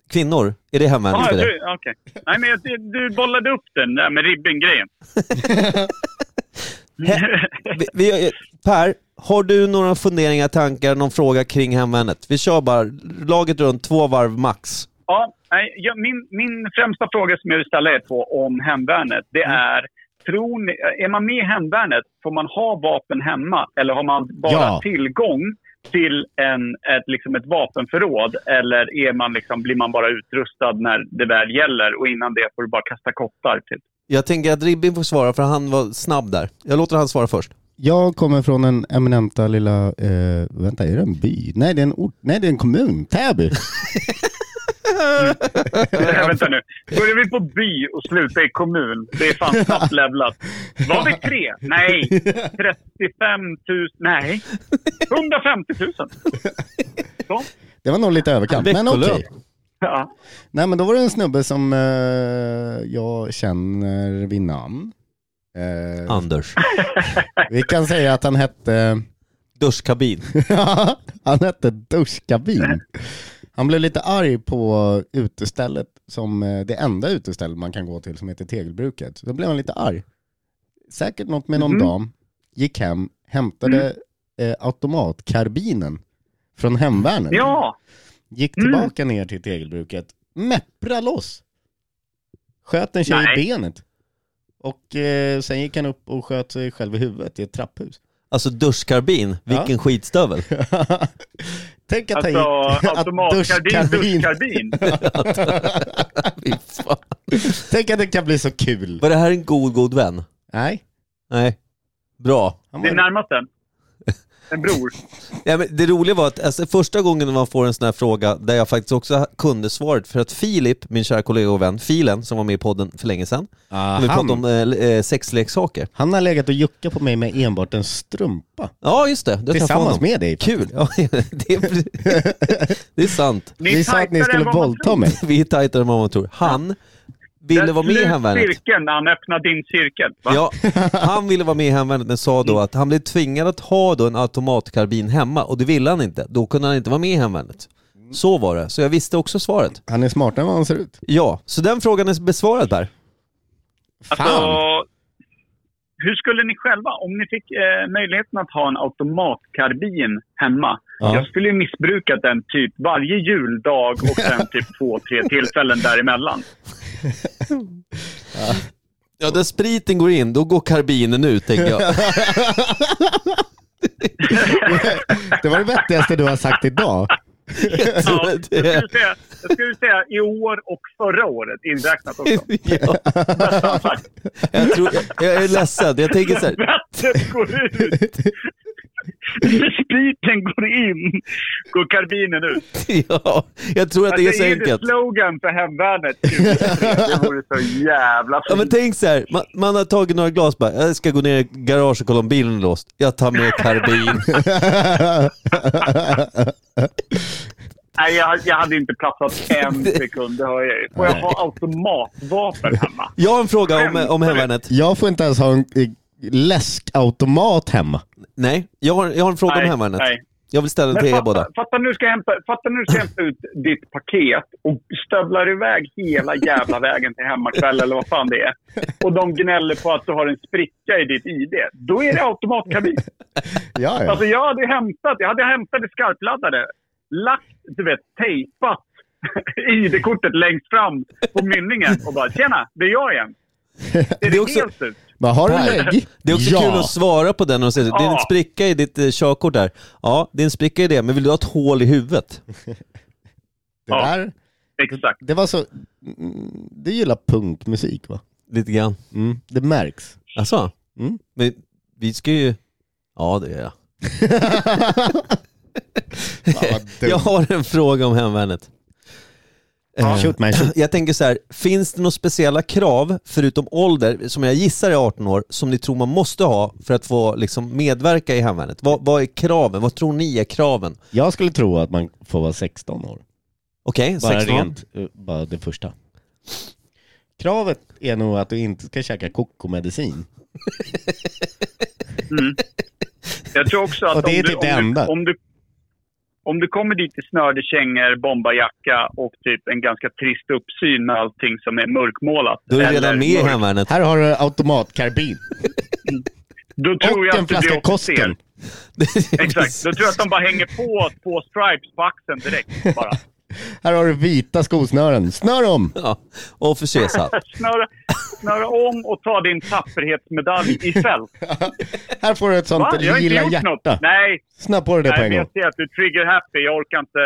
Speaker 1: Kvinnor, är det hemvärnet
Speaker 3: Ah,
Speaker 1: för dig?
Speaker 3: du, okej. Nej, men jag- du, du bollade upp den där med ribben-grejen.
Speaker 1: Vi, vi, per, har du några funderingar, tankar, någon fråga kring hemvärnet? Vi kör bara laget runt, två varv max.
Speaker 3: Ja, nej, jag, min, min främsta fråga som jag vill ställa er två om hemvärnet, det är Tror ni, är man med i hemvärnet, får man ha vapen hemma eller har man bara
Speaker 4: Ja.
Speaker 3: tillgång till en, ett, liksom ett vapenförråd? Eller är man liksom, blir man bara utrustad när det väl gäller och innan det får du bara kasta kottar? Typ.
Speaker 1: Jag tänker att Ribbing får svara för han var snabb där. Jag låter han svara först.
Speaker 4: Jag kommer från den eminenta lilla, eh, vänta är det en by? Nej det är en ort, nej det är en kommun, Täby. Eh,
Speaker 3: Vänta nu. Börjar vi på by och slutar i kommun? Det är fan snabbt levlat. Var vi tre? Nej. 35 000? Nej. 150 000? Så.
Speaker 4: Det var nog lite överkant, men okej.
Speaker 1: Veckolön.
Speaker 3: Ja.
Speaker 4: Nej men då var det en snubbe som eh, jag känner vid namn. Eh,
Speaker 1: Anders.
Speaker 4: Vi kan säga att han hette,
Speaker 1: Duschkabin.
Speaker 4: han hette Duschkabin. Han blev lite arg på utestället, som eh, det enda utestället man kan gå till som heter Tegelbruket. Så då blev han lite arg. Säkert något med någon
Speaker 3: Mhm.
Speaker 4: dam. Gick hem,
Speaker 3: Mm.
Speaker 4: hämtade eh, automatkarbinen från hemvärnet.
Speaker 3: ja. Mm.
Speaker 4: Gick tillbaka ner till tegelbruket, meppra loss. Sköt en tjej
Speaker 3: Nej.
Speaker 4: i benet. Och eh, sen gick han upp och sköt sig själv i huvudet i ett trapphus.
Speaker 1: Alltså duschkarbin, vilken
Speaker 4: Ja.
Speaker 1: skitstövel.
Speaker 4: Tänk att
Speaker 3: Alltså
Speaker 4: han gick... att
Speaker 3: automatkarbin,
Speaker 4: duschkarbin-
Speaker 3: duschkarbin.
Speaker 1: Fy fan.
Speaker 4: Tänk att det kan bli så kul.
Speaker 1: Var det här en god, god vän?
Speaker 4: Nej.
Speaker 1: Nej. Bra.
Speaker 4: Han
Speaker 3: Det är
Speaker 4: var...
Speaker 3: närmast den. En bror.
Speaker 1: Ja, men det roliga var att alltså, första gången man får en sån här fråga där jag faktiskt också kunde svaret för att Filip, min kära kollega och vän, Filen som var med i podden för länge sedan,
Speaker 4: Ah,
Speaker 1: vi pratade
Speaker 4: han,
Speaker 1: om eh, eh, sexleksaker.
Speaker 4: han har legat och juckat på mig med enbart en strumpa.
Speaker 1: Ja just det, du har träffat
Speaker 4: Tillsammans
Speaker 1: honom.
Speaker 4: med dig.
Speaker 1: Kul! Ja, det, är, det är sant.
Speaker 3: Ni är
Speaker 4: Vi sa att
Speaker 3: tajtare
Speaker 4: ni
Speaker 3: än
Speaker 4: skulle
Speaker 3: vad man tror.
Speaker 4: våldta mig.
Speaker 1: Vi är tajtare än vad man tror. Han ville vara med i
Speaker 3: Slut
Speaker 1: Hemvärnet.
Speaker 3: cirkeln när han öppnade din cirkel. Va?
Speaker 1: Ja, han ville vara med i Hemvärnet men sa då att han blev tvingad att ha då en automatkarbin hemma och det ville han inte. Då kunde han inte vara med i Hemvärnet. Så var det, så jag visste också svaret.
Speaker 4: Han är smartare än vad han ser ut.
Speaker 1: Ja, så den frågan är besvarad där.
Speaker 4: Fan.
Speaker 3: Alltså, hur skulle ni själva, om ni fick eh, möjligheten att ha en automatkarbin hemma.
Speaker 4: Ja.
Speaker 3: Jag skulle ju missbruka den typ varje juldag och sen typ två, tre tillfällen däremellan.
Speaker 1: Ja, där spriten går in, då går karbinen ut tänker jag.
Speaker 4: Det var det vettigaste du har sagt idag.
Speaker 1: Jag tror
Speaker 3: Ja,
Speaker 1: att det
Speaker 3: jag,
Speaker 1: är...
Speaker 3: skulle säga, jag skulle säga i år och förra året inräknat också.
Speaker 1: Ja. Jag, tror, jag, jag är ledsen, jag tänker så här,
Speaker 3: Vattnet går ut. Spriten går in. Går karbinen ut.
Speaker 1: ja, jag tror att det är
Speaker 3: Alltså,
Speaker 1: så enkelt.
Speaker 3: det slogan för hemvärnet 2023? Det vore så jävla
Speaker 1: Ja, men
Speaker 3: fint.
Speaker 1: tänk så här, man, man har tagit några glas bara, jag ska gå ner i garaget och kolla om bilen är låst. Jag tar med karbin.
Speaker 3: Nej, jag, jag hade inte platsat en sekund, det hör jag ju. Får jag ha automatvapen hemma?
Speaker 1: Jag har en fråga om, om hemvärnet.
Speaker 4: Jag får inte ens ha en eh, läskautomat hemma.
Speaker 1: Nej, jag har, jag har en fråga om hemvärnet.
Speaker 3: nej.
Speaker 1: Jag vill ställa den till er båda.
Speaker 3: fatta nu ska jag hämta, fatta nu ska jag hämta ut ditt paket och stövlar iväg hela jävla vägen till hemmakväll eller vad fan det är. Och de gnäller på att du har en spricka i ditt ID. Då är det automatkabin.
Speaker 4: Ja, ja.
Speaker 3: Alltså jag hade hämtat, jag hade hämtat det skarpladdade, lagt, du vet, tejpat ID-kortet längst fram på mynningen och bara “Tjena, det är jag igen”. Det är
Speaker 1: Det
Speaker 3: det
Speaker 1: är också-
Speaker 3: helt ut.
Speaker 4: Men har du
Speaker 1: Per.
Speaker 4: lägg?
Speaker 1: Det är också
Speaker 4: ja.
Speaker 1: kul att svara på den och säga, det är en
Speaker 3: Ja.
Speaker 1: spricka i ditt eh, körkort där. Ja, det är en spricka i det, men vill du ha ett hål i huvudet?
Speaker 4: Det, där,
Speaker 3: Exakt.
Speaker 4: det var så... mm, Du gillar punkmusik va?
Speaker 1: Lite grann.
Speaker 4: Mm. Det märks.
Speaker 1: Alltså,
Speaker 4: Mm.
Speaker 1: men vi ska ju... Ja, det gör jag.
Speaker 4: Fan, vad dumt.
Speaker 1: Jag har en fråga om hemvärnet. Eh,
Speaker 4: Shoot man, shoot.
Speaker 1: Jag tänker så här, finns det några speciella krav, förutom ålder, som jag gissar är 18 år, som ni tror man måste ha för att få liksom, medverka i hemvärnet? Vad, vad är kraven? Vad tror ni är kraven?
Speaker 4: Jag skulle tro att man får vara 16 år.
Speaker 1: Okej,
Speaker 4: Bara
Speaker 1: 16?
Speaker 4: rent, eh, bara det första. Kravet är nog att du inte ska käka kokomedicin.
Speaker 3: Jag tror också att
Speaker 4: Och det är
Speaker 3: om, du,
Speaker 4: typ det
Speaker 3: om, du,
Speaker 4: enda.
Speaker 3: om, du, om du kommer dit i snördig kängor, bombarjacka och typ en ganska trist uppsyn med allting som är mörkmålat.
Speaker 1: Då är du
Speaker 3: eller
Speaker 1: redan med i
Speaker 3: mörkt,
Speaker 1: hemvärnet.
Speaker 4: Här har du automatkarbin
Speaker 3: Då tror
Speaker 4: och
Speaker 3: jag
Speaker 4: en
Speaker 3: att det blir
Speaker 4: flaska
Speaker 3: officer.
Speaker 4: Kosten.
Speaker 3: Exakt. Då tror jag att de bara hänger på två stripes på axeln direkt bara.
Speaker 4: Här har du vita skosnören. Snör om!
Speaker 1: Ja, och försesatt.
Speaker 3: Snöra, snöra om och ta din tapperhetsmedalj i fält.
Speaker 4: Här får du ett sånt
Speaker 3: Va? Jag har inte
Speaker 4: lilla
Speaker 3: gjort
Speaker 4: hjärta.
Speaker 3: något. Nej,
Speaker 4: Snabba på dig det på
Speaker 3: nej
Speaker 4: en gång.
Speaker 3: jag ser att du är trigger happy. Jag orkar inte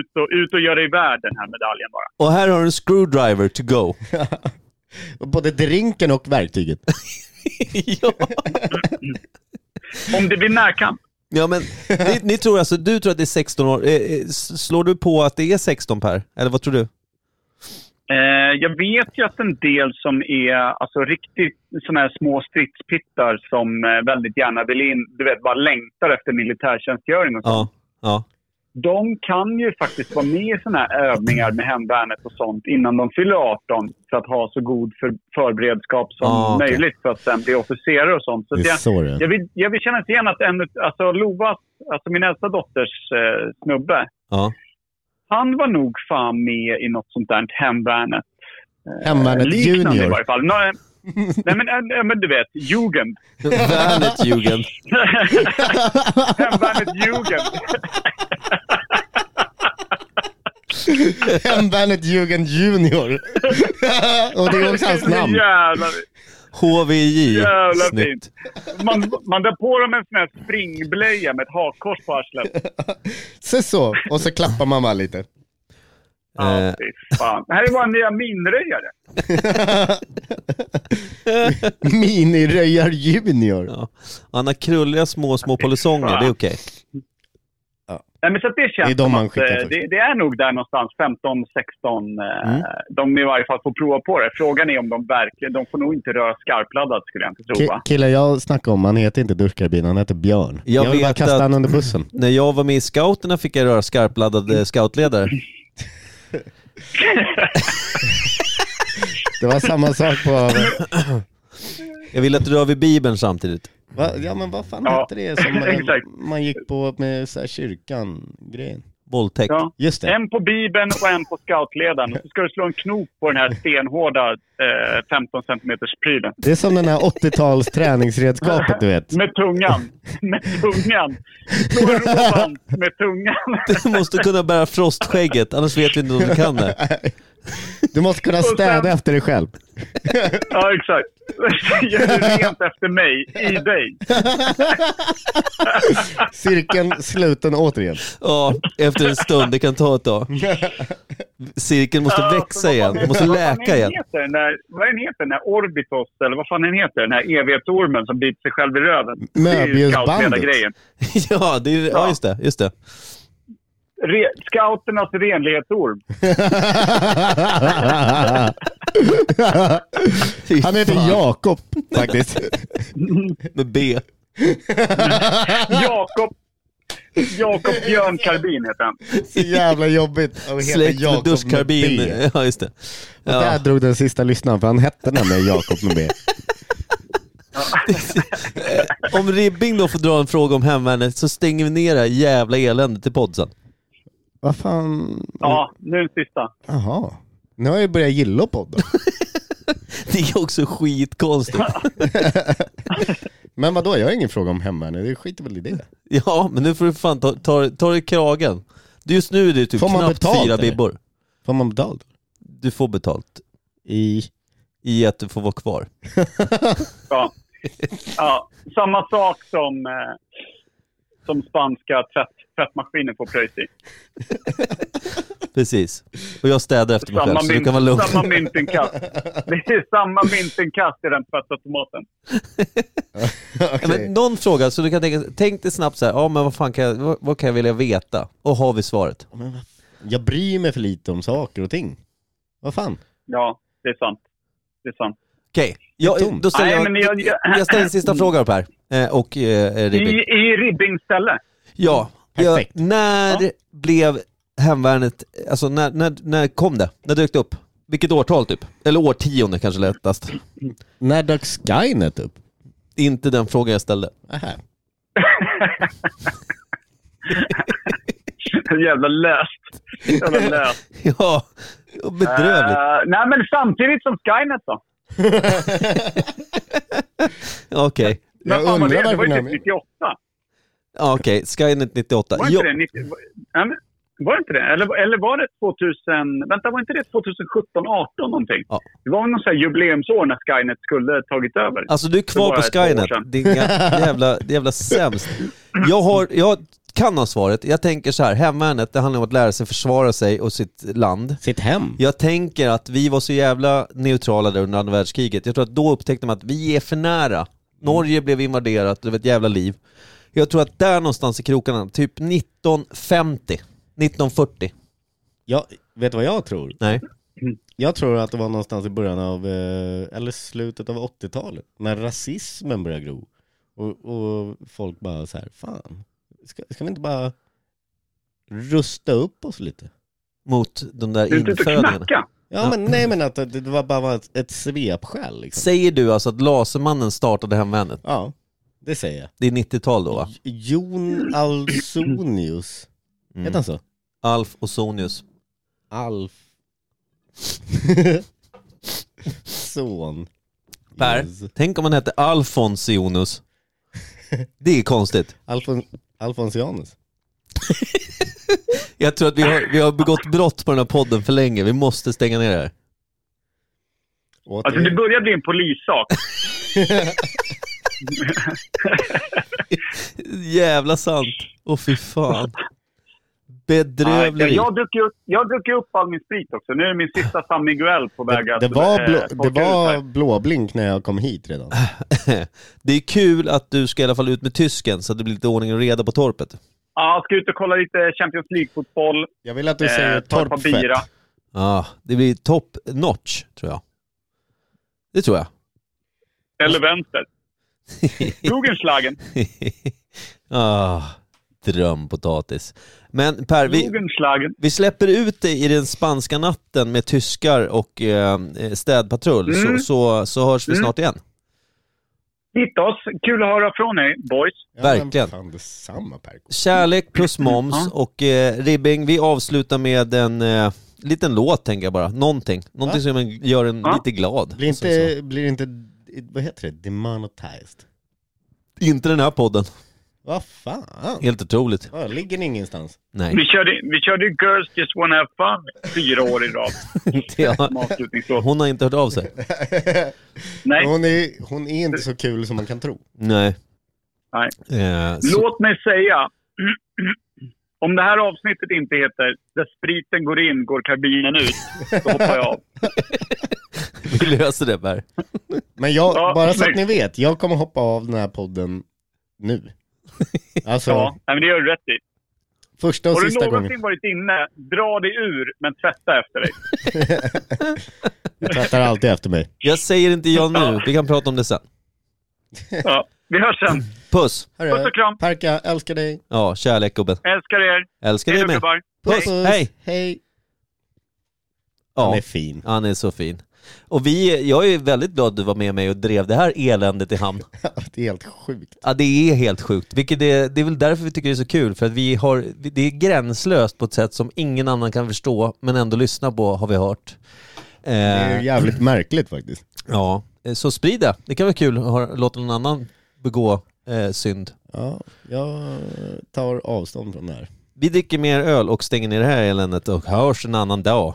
Speaker 3: ut och, ut och göra dig värd den här medaljen bara.
Speaker 1: Och här har du en screwdriver to go.
Speaker 4: Både drinken och verktyget.
Speaker 1: ja.
Speaker 3: Om det blir närkamp.
Speaker 1: ja, men ni, ni tror alltså, du tror att det är 16 år. Eh, eh, s- Slår du på att det är 16 Per? Eller vad tror du?
Speaker 3: Eh, jag vet ju att en del som är alltså, riktigt såna här små stridspittar som eh, väldigt gärna vill in, du vet, bara längtar efter militärtjänstgöring och så.
Speaker 1: Ja. ja.
Speaker 3: de kan ju faktiskt vara med i såna här övningar med hemvärnet och sånt innan de fyller 18 för att ha så god för, förberedskap som
Speaker 1: Ah, okej.
Speaker 3: möjligt för att sen bli officerare och sånt. Så att
Speaker 4: Det är
Speaker 3: jag,
Speaker 4: så det
Speaker 3: jag,
Speaker 4: är.
Speaker 3: vill, jag vill känna inte igen att en, alltså Lovas, alltså min äldsta dotters eh, snubbe,
Speaker 1: ja.
Speaker 3: han var nog fan med i något sånt där hemvärnet.
Speaker 4: Hemvärnet
Speaker 3: Liknande i
Speaker 4: Junior.
Speaker 3: varje fall. Nå- Nej men, äh, men du vet, Jugend.
Speaker 1: Värnet Jugend.
Speaker 3: Hemvärnet Jugend.
Speaker 4: Hemvärnet Jugend Junior. Och det är också hans namn.
Speaker 3: Jävlar,
Speaker 1: HVJ.
Speaker 3: jävla
Speaker 1: Snyggt.
Speaker 3: fint. Man, man drar på dem en sån här springblöja med ett hakkors på
Speaker 4: Eh.
Speaker 3: arslet.
Speaker 4: Se så. Och så klappar man bara lite.
Speaker 1: Eh,
Speaker 3: Ja, fy fan. Det här är våra nya minröjare.
Speaker 4: Miniröjar Junior.
Speaker 1: ja. Han har krulliga små, små polisonger. Det är okej.
Speaker 3: Nej, men så att det känns
Speaker 4: Det är de
Speaker 3: som
Speaker 4: man
Speaker 3: att,
Speaker 4: skickar
Speaker 3: eh,
Speaker 4: först. Mm.
Speaker 3: det, det är nog där någonstans 15, 16. eh, De i varje fall får prova på det. Frågan är om de verkligen, de får nog inte röra skarpladdat skulle jag inte tro
Speaker 4: Ki-
Speaker 3: va?
Speaker 4: killen jag snackade om, han heter inte duschkarbin, han heter Björn.
Speaker 1: Jag
Speaker 4: Jag, vill bara
Speaker 1: vet
Speaker 4: kasta
Speaker 1: att-
Speaker 4: honom under bussen.
Speaker 1: När jag var med i scouterna fick jag röra skarpladdade scoutledare.
Speaker 4: Det var samma sak på...
Speaker 1: Jag ville att du rör vid bibeln samtidigt.
Speaker 4: Va? Ja men vad fan
Speaker 3: Ja,
Speaker 4: hette det som man,
Speaker 3: exakt.
Speaker 4: man gick på med så här kyrkan-grejen?
Speaker 1: Våldtäkt.
Speaker 3: Ja.
Speaker 4: Just det.
Speaker 3: En på Bibeln och en på scoutledaren. Och så ska du slå en knop på den här stenhårda eh, 15 centimeters prylen.
Speaker 4: Det är som den här 80-tals träningsredskapet du vet.
Speaker 3: Med tungan. Med tungan. Slå en råband med tungan.
Speaker 1: Du måste kunna bära frostskägget, annars vet vi inte om du kan det.
Speaker 4: Du måste kunna
Speaker 3: sen-
Speaker 4: städa efter dig själv.
Speaker 3: Ja, exakt. Gör det rent efter mig, i dig.
Speaker 4: Cirkeln sluten återigen.
Speaker 1: Ja, efter en stund. Det kan ta ett tag. Cirkeln måste
Speaker 3: Ja, för
Speaker 1: växa
Speaker 3: vad
Speaker 1: igen.
Speaker 3: fan
Speaker 1: Den
Speaker 3: är-
Speaker 1: måste
Speaker 3: vad fan
Speaker 1: läka
Speaker 3: är den
Speaker 1: igen.
Speaker 3: Heter, den där, vad är den heter, den där Orbitos, eller vad fan den heter, den här evighetsormen som biter sig själv i röven? Det är ju
Speaker 4: Möbiusbandet.
Speaker 3: scoutledargrejen.
Speaker 1: Ja, det är, ja, just det. Just det.
Speaker 3: Re, scouternas renlighetsorm.
Speaker 1: Fy
Speaker 4: Han heter
Speaker 1: fan,
Speaker 4: Jakob faktiskt.
Speaker 1: Med B.
Speaker 3: Jakob, Jakob Björn Karbin heter han.
Speaker 4: Så jävla jobbigt. Han heter
Speaker 1: Släkt med
Speaker 4: Jakob
Speaker 1: duschkarbin.
Speaker 4: med B.
Speaker 1: Ja, just det.
Speaker 4: Och Där
Speaker 1: Ja.
Speaker 4: drog den sista lyssnaren för han hette nämligen Jakob med B.
Speaker 1: Om Ribbing då får dra en fråga om hemvärnet så stänger vi ner det här jävla eländet i podden.
Speaker 4: Vad fan?
Speaker 3: Ja, nu den sista.
Speaker 4: Jaha. Nu har jag ju börjat gilla podden.
Speaker 1: Det är också skitkonstigt.
Speaker 4: Men vadå, jag har ingen fråga om hemvärnet. Det skiter väl i det.
Speaker 1: Ja, men nu får du fan ta, ta, ta dig i kragen. Just nu är det typ
Speaker 4: Får man
Speaker 1: knappt
Speaker 4: betalt,
Speaker 1: fyra
Speaker 4: eller?
Speaker 1: bibbor.
Speaker 4: Får man betalt?
Speaker 1: Du får betalt
Speaker 4: I...
Speaker 1: i att du får vara kvar.
Speaker 3: Ja. Ja, samma sak som, eh, som spanska tvätt, tvättmaskinen får pröjs i.
Speaker 1: Precis. Och jag städar efter mig själv,
Speaker 3: Samma,
Speaker 1: så du
Speaker 3: mynt,
Speaker 1: kan vara lugn.
Speaker 3: samma myntinkast. Det är samma myntinkast i den tvättautomaten.
Speaker 1: Ja, men någon fråga, så du kan tänka, tänk dig snabbt så här, ja men vad fan kan jag, vad, vad kan jag vilja veta? Och har vi svaret?
Speaker 4: Jag bryr mig för lite om saker och ting. Vad fan?
Speaker 3: Ja, det är sant. Det är sant.
Speaker 1: Okej, jag,
Speaker 4: tomt.
Speaker 1: då ställer
Speaker 3: Nej,
Speaker 1: jag,
Speaker 3: men
Speaker 1: jag,
Speaker 3: jag- jag-
Speaker 1: ställer en sista fråga Per. Eh, Och eh,
Speaker 3: I,
Speaker 1: Ribbing.
Speaker 3: i Ribbings ställe.
Speaker 1: Ja, jag,
Speaker 4: Perfekt.
Speaker 1: när blev hemvärnet, alltså när, när, när kom det? När dök det upp? Vilket årtal typ? Eller årtionde kanske lättast.
Speaker 4: När dök Skynet upp?
Speaker 1: Inte den frågan jag ställde.
Speaker 4: Aha.
Speaker 3: Jävla löst. Jävla löst.
Speaker 1: Ja, bedrövligt.
Speaker 3: Eh, nej, men samtidigt som Skynet då. Eh.
Speaker 1: Okej,
Speaker 3: Men
Speaker 4: Jag
Speaker 3: fan vad
Speaker 4: undrar
Speaker 3: det, det var
Speaker 4: varför
Speaker 3: ju
Speaker 4: den
Speaker 3: typ
Speaker 4: här-
Speaker 3: 98.
Speaker 1: ja, okej. Skynet 98.
Speaker 3: Var
Speaker 1: Jo,
Speaker 3: inte det 90, var, nej, men, var det inte det? Eller, eller var det 2000... Vänta, var inte det 2017, 18 någonting?
Speaker 1: Ja.
Speaker 3: Det var väl någon sån här jubileumsår när Skynet skulle tagit över.
Speaker 1: Alltså du är kvar
Speaker 3: Det var
Speaker 1: på
Speaker 3: ett par år
Speaker 1: Skynet.
Speaker 3: sedan.
Speaker 1: Det är inga- jävla, det är jävla sämst. Jag, har, jag kan ha svaret. Jag tänker så här, hemvärnet det handlar om att lära sig försvara sig och sitt land.
Speaker 4: Sitt hem.
Speaker 1: Jag tänker att vi var så jävla neutrala där under andra världskriget. Jag tror att då upptäckte man att vi är för nära. Norge blev invaderat, det var ett jävla liv. Jag tror att där någonstans i krokarna, typ 1950, 1940.
Speaker 4: Jag, vet du vad jag tror?
Speaker 1: Nej.
Speaker 4: Jag tror att det var någonstans i början av, eh, eller slutet av 80-talet, när rasismen började gro. Och, och folk bara så här, fan, ska, ska vi inte bara rusta upp oss lite?
Speaker 1: Mot de där
Speaker 3: Du är inte ute och
Speaker 1: infödingarna.
Speaker 3: knacka.
Speaker 4: Ja, men nej men att det, det var bara ett, ett svepskäl liksom.
Speaker 1: Säger du alltså att Lasermannen startade hemvärnet?
Speaker 4: Ja, det säger jag.
Speaker 1: Det är 90-tal då va?
Speaker 4: Jon Alsonius,
Speaker 1: Mm.
Speaker 4: heter han så?
Speaker 1: Alf Osonius.
Speaker 4: Alf... Son.
Speaker 1: Per,
Speaker 4: Yes.
Speaker 1: tänk om han hette Alfonsionius. Det är konstigt.
Speaker 4: Alfon, Alfonsianus.
Speaker 1: Jag tror att vi har, vi har begått brott på den här podden för länge. Vi måste stänga ner det här.
Speaker 3: Alltså det börjar bli en polissak.
Speaker 1: Jävla sant. Åh fy fan. Bedrövlig.
Speaker 3: Jag dricker upp, jag dricker upp all min sprit också. Nu är det min sista San Miguel på väg
Speaker 4: Det,
Speaker 3: att...
Speaker 4: det var,
Speaker 3: eh,
Speaker 4: blå, det
Speaker 3: torka ut
Speaker 4: var
Speaker 3: här.
Speaker 4: blåblink när jag kom hit redan.
Speaker 1: Det är kul att du ska i alla fall ut med tysken så att det blir lite ordning och reda på torpet.
Speaker 3: Ja, jag ska ut och kolla lite Champions League-fotboll.
Speaker 4: Jag vill att du
Speaker 3: Eh,
Speaker 4: säger
Speaker 3: ta ett par
Speaker 4: torpfett.
Speaker 3: bira.
Speaker 1: Ah, det blir top notch, tror jag. Det tror jag.
Speaker 3: Eller vänster. Jugendschlagen.
Speaker 1: ah, drömpotatis. Men Per, vi,
Speaker 3: Jugendschlagen.
Speaker 1: Vi släpper ut dig i den spanska natten med tyskar och eh, städpatrull så,
Speaker 3: Mm.
Speaker 1: så, så hörs vi snart igen.
Speaker 3: Hitta oss. Kul att höra från er, boys.
Speaker 4: Ja, men
Speaker 1: Verkligen.
Speaker 4: Fan detsamma Perko.
Speaker 1: Kärlek plus moms och eh, Ribbing, vi avslutar med en eh, liten låt tänker jag bara. Någonting. Någonting som gör en
Speaker 3: Ja.
Speaker 1: lite glad. Alltså,
Speaker 4: Blir
Speaker 1: Så- så.
Speaker 4: inte, blir inte, vad heter det, demonetized?
Speaker 1: inte den här podden.
Speaker 4: Vad fan?
Speaker 1: Helt otroligt.
Speaker 4: Ja, ligger ni ingenstans?
Speaker 1: Nej.
Speaker 3: Vi körde, vi körde ju Girls Just Wanna Have Fun fyra år i rad
Speaker 1: Inte jag.
Speaker 3: som avslutningslåt.
Speaker 1: Hon har inte hört av sig.
Speaker 3: Nej,
Speaker 4: Hon är, hon är inte så kul som man kan tro.
Speaker 1: Nej.
Speaker 3: Nej.
Speaker 1: Eh, så,
Speaker 3: låt mig säga. Om det här avsnittet inte heter Där spriten går in går kabinen ut, då hoppar jag av.
Speaker 1: vi löser det Per.
Speaker 4: Men jag,
Speaker 3: Ja,
Speaker 4: bara så att
Speaker 3: snyggt.
Speaker 4: ni vet, jag kommer hoppa av den här podden nu. Alltså,
Speaker 3: Ja, nej, men det gör du rätt i.
Speaker 4: första och
Speaker 3: Har du
Speaker 4: sista
Speaker 3: någonsin
Speaker 4: gången.
Speaker 3: varit inne, dra dig ur, men tvätta efter dig.
Speaker 4: Du tvättar alltid efter mig.
Speaker 1: Jag säger inte ja nu, vi kan prata om det sen.
Speaker 3: Ja. Vi hörs sen.
Speaker 1: Puss!
Speaker 3: Puss och kram.
Speaker 4: Perka, älskar dig.
Speaker 1: Ja, kärlek gubben.
Speaker 3: Älskar er.
Speaker 1: Älskar
Speaker 3: Hej
Speaker 1: dig
Speaker 3: då,
Speaker 1: med.
Speaker 3: gubbar.
Speaker 1: Puss! Hej!
Speaker 4: Hej. Han
Speaker 1: Ja,
Speaker 4: är fin.
Speaker 1: han är så fin. Och vi, jag är väldigt glad du var med mig och drev det här eländet i hamn.
Speaker 4: Det är helt sjukt.
Speaker 1: Ja, det är helt sjukt. Vilket är, det är väl därför vi tycker det är så kul, för att vi har, det är gränslöst på ett sätt som ingen annan kan förstå, men ändå lyssna på, har vi hört.
Speaker 4: Det är
Speaker 1: Eh,
Speaker 4: ju jävligt märkligt faktiskt.
Speaker 1: ja, Eh, så sprid det. Det kan vara kul att ha- låta någon annan begå eh, synd.
Speaker 4: Ja, jag tar avstånd från det här.
Speaker 1: Vi dricker mer öl och stänger ner det här eländet och hörs en annan dag.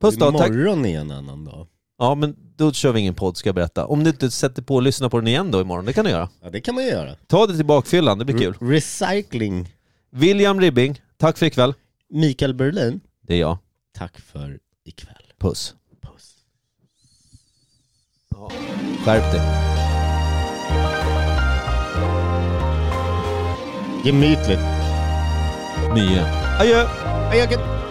Speaker 1: Puss då, tack.
Speaker 4: Imorgon är en annan dag.
Speaker 1: Ja, men då kör vi ingen podd ska jag berätta. Om du inte sätter på och lyssnar på den igen då imorgon, det kan du göra.
Speaker 4: Ja, det kan man ju göra.
Speaker 1: Ta det till bakfyllan, det blir kul.
Speaker 4: Re- Recycling.
Speaker 1: William Ribbing, tack för ikväll.
Speaker 4: Mikael Berlin,
Speaker 1: Det är jag.
Speaker 4: tack för ikväll.
Speaker 1: Puss.
Speaker 4: Puss.
Speaker 1: Skärp dig.
Speaker 4: Gemytligt.
Speaker 1: Nye. Adjö!
Speaker 4: Hej, Jocke.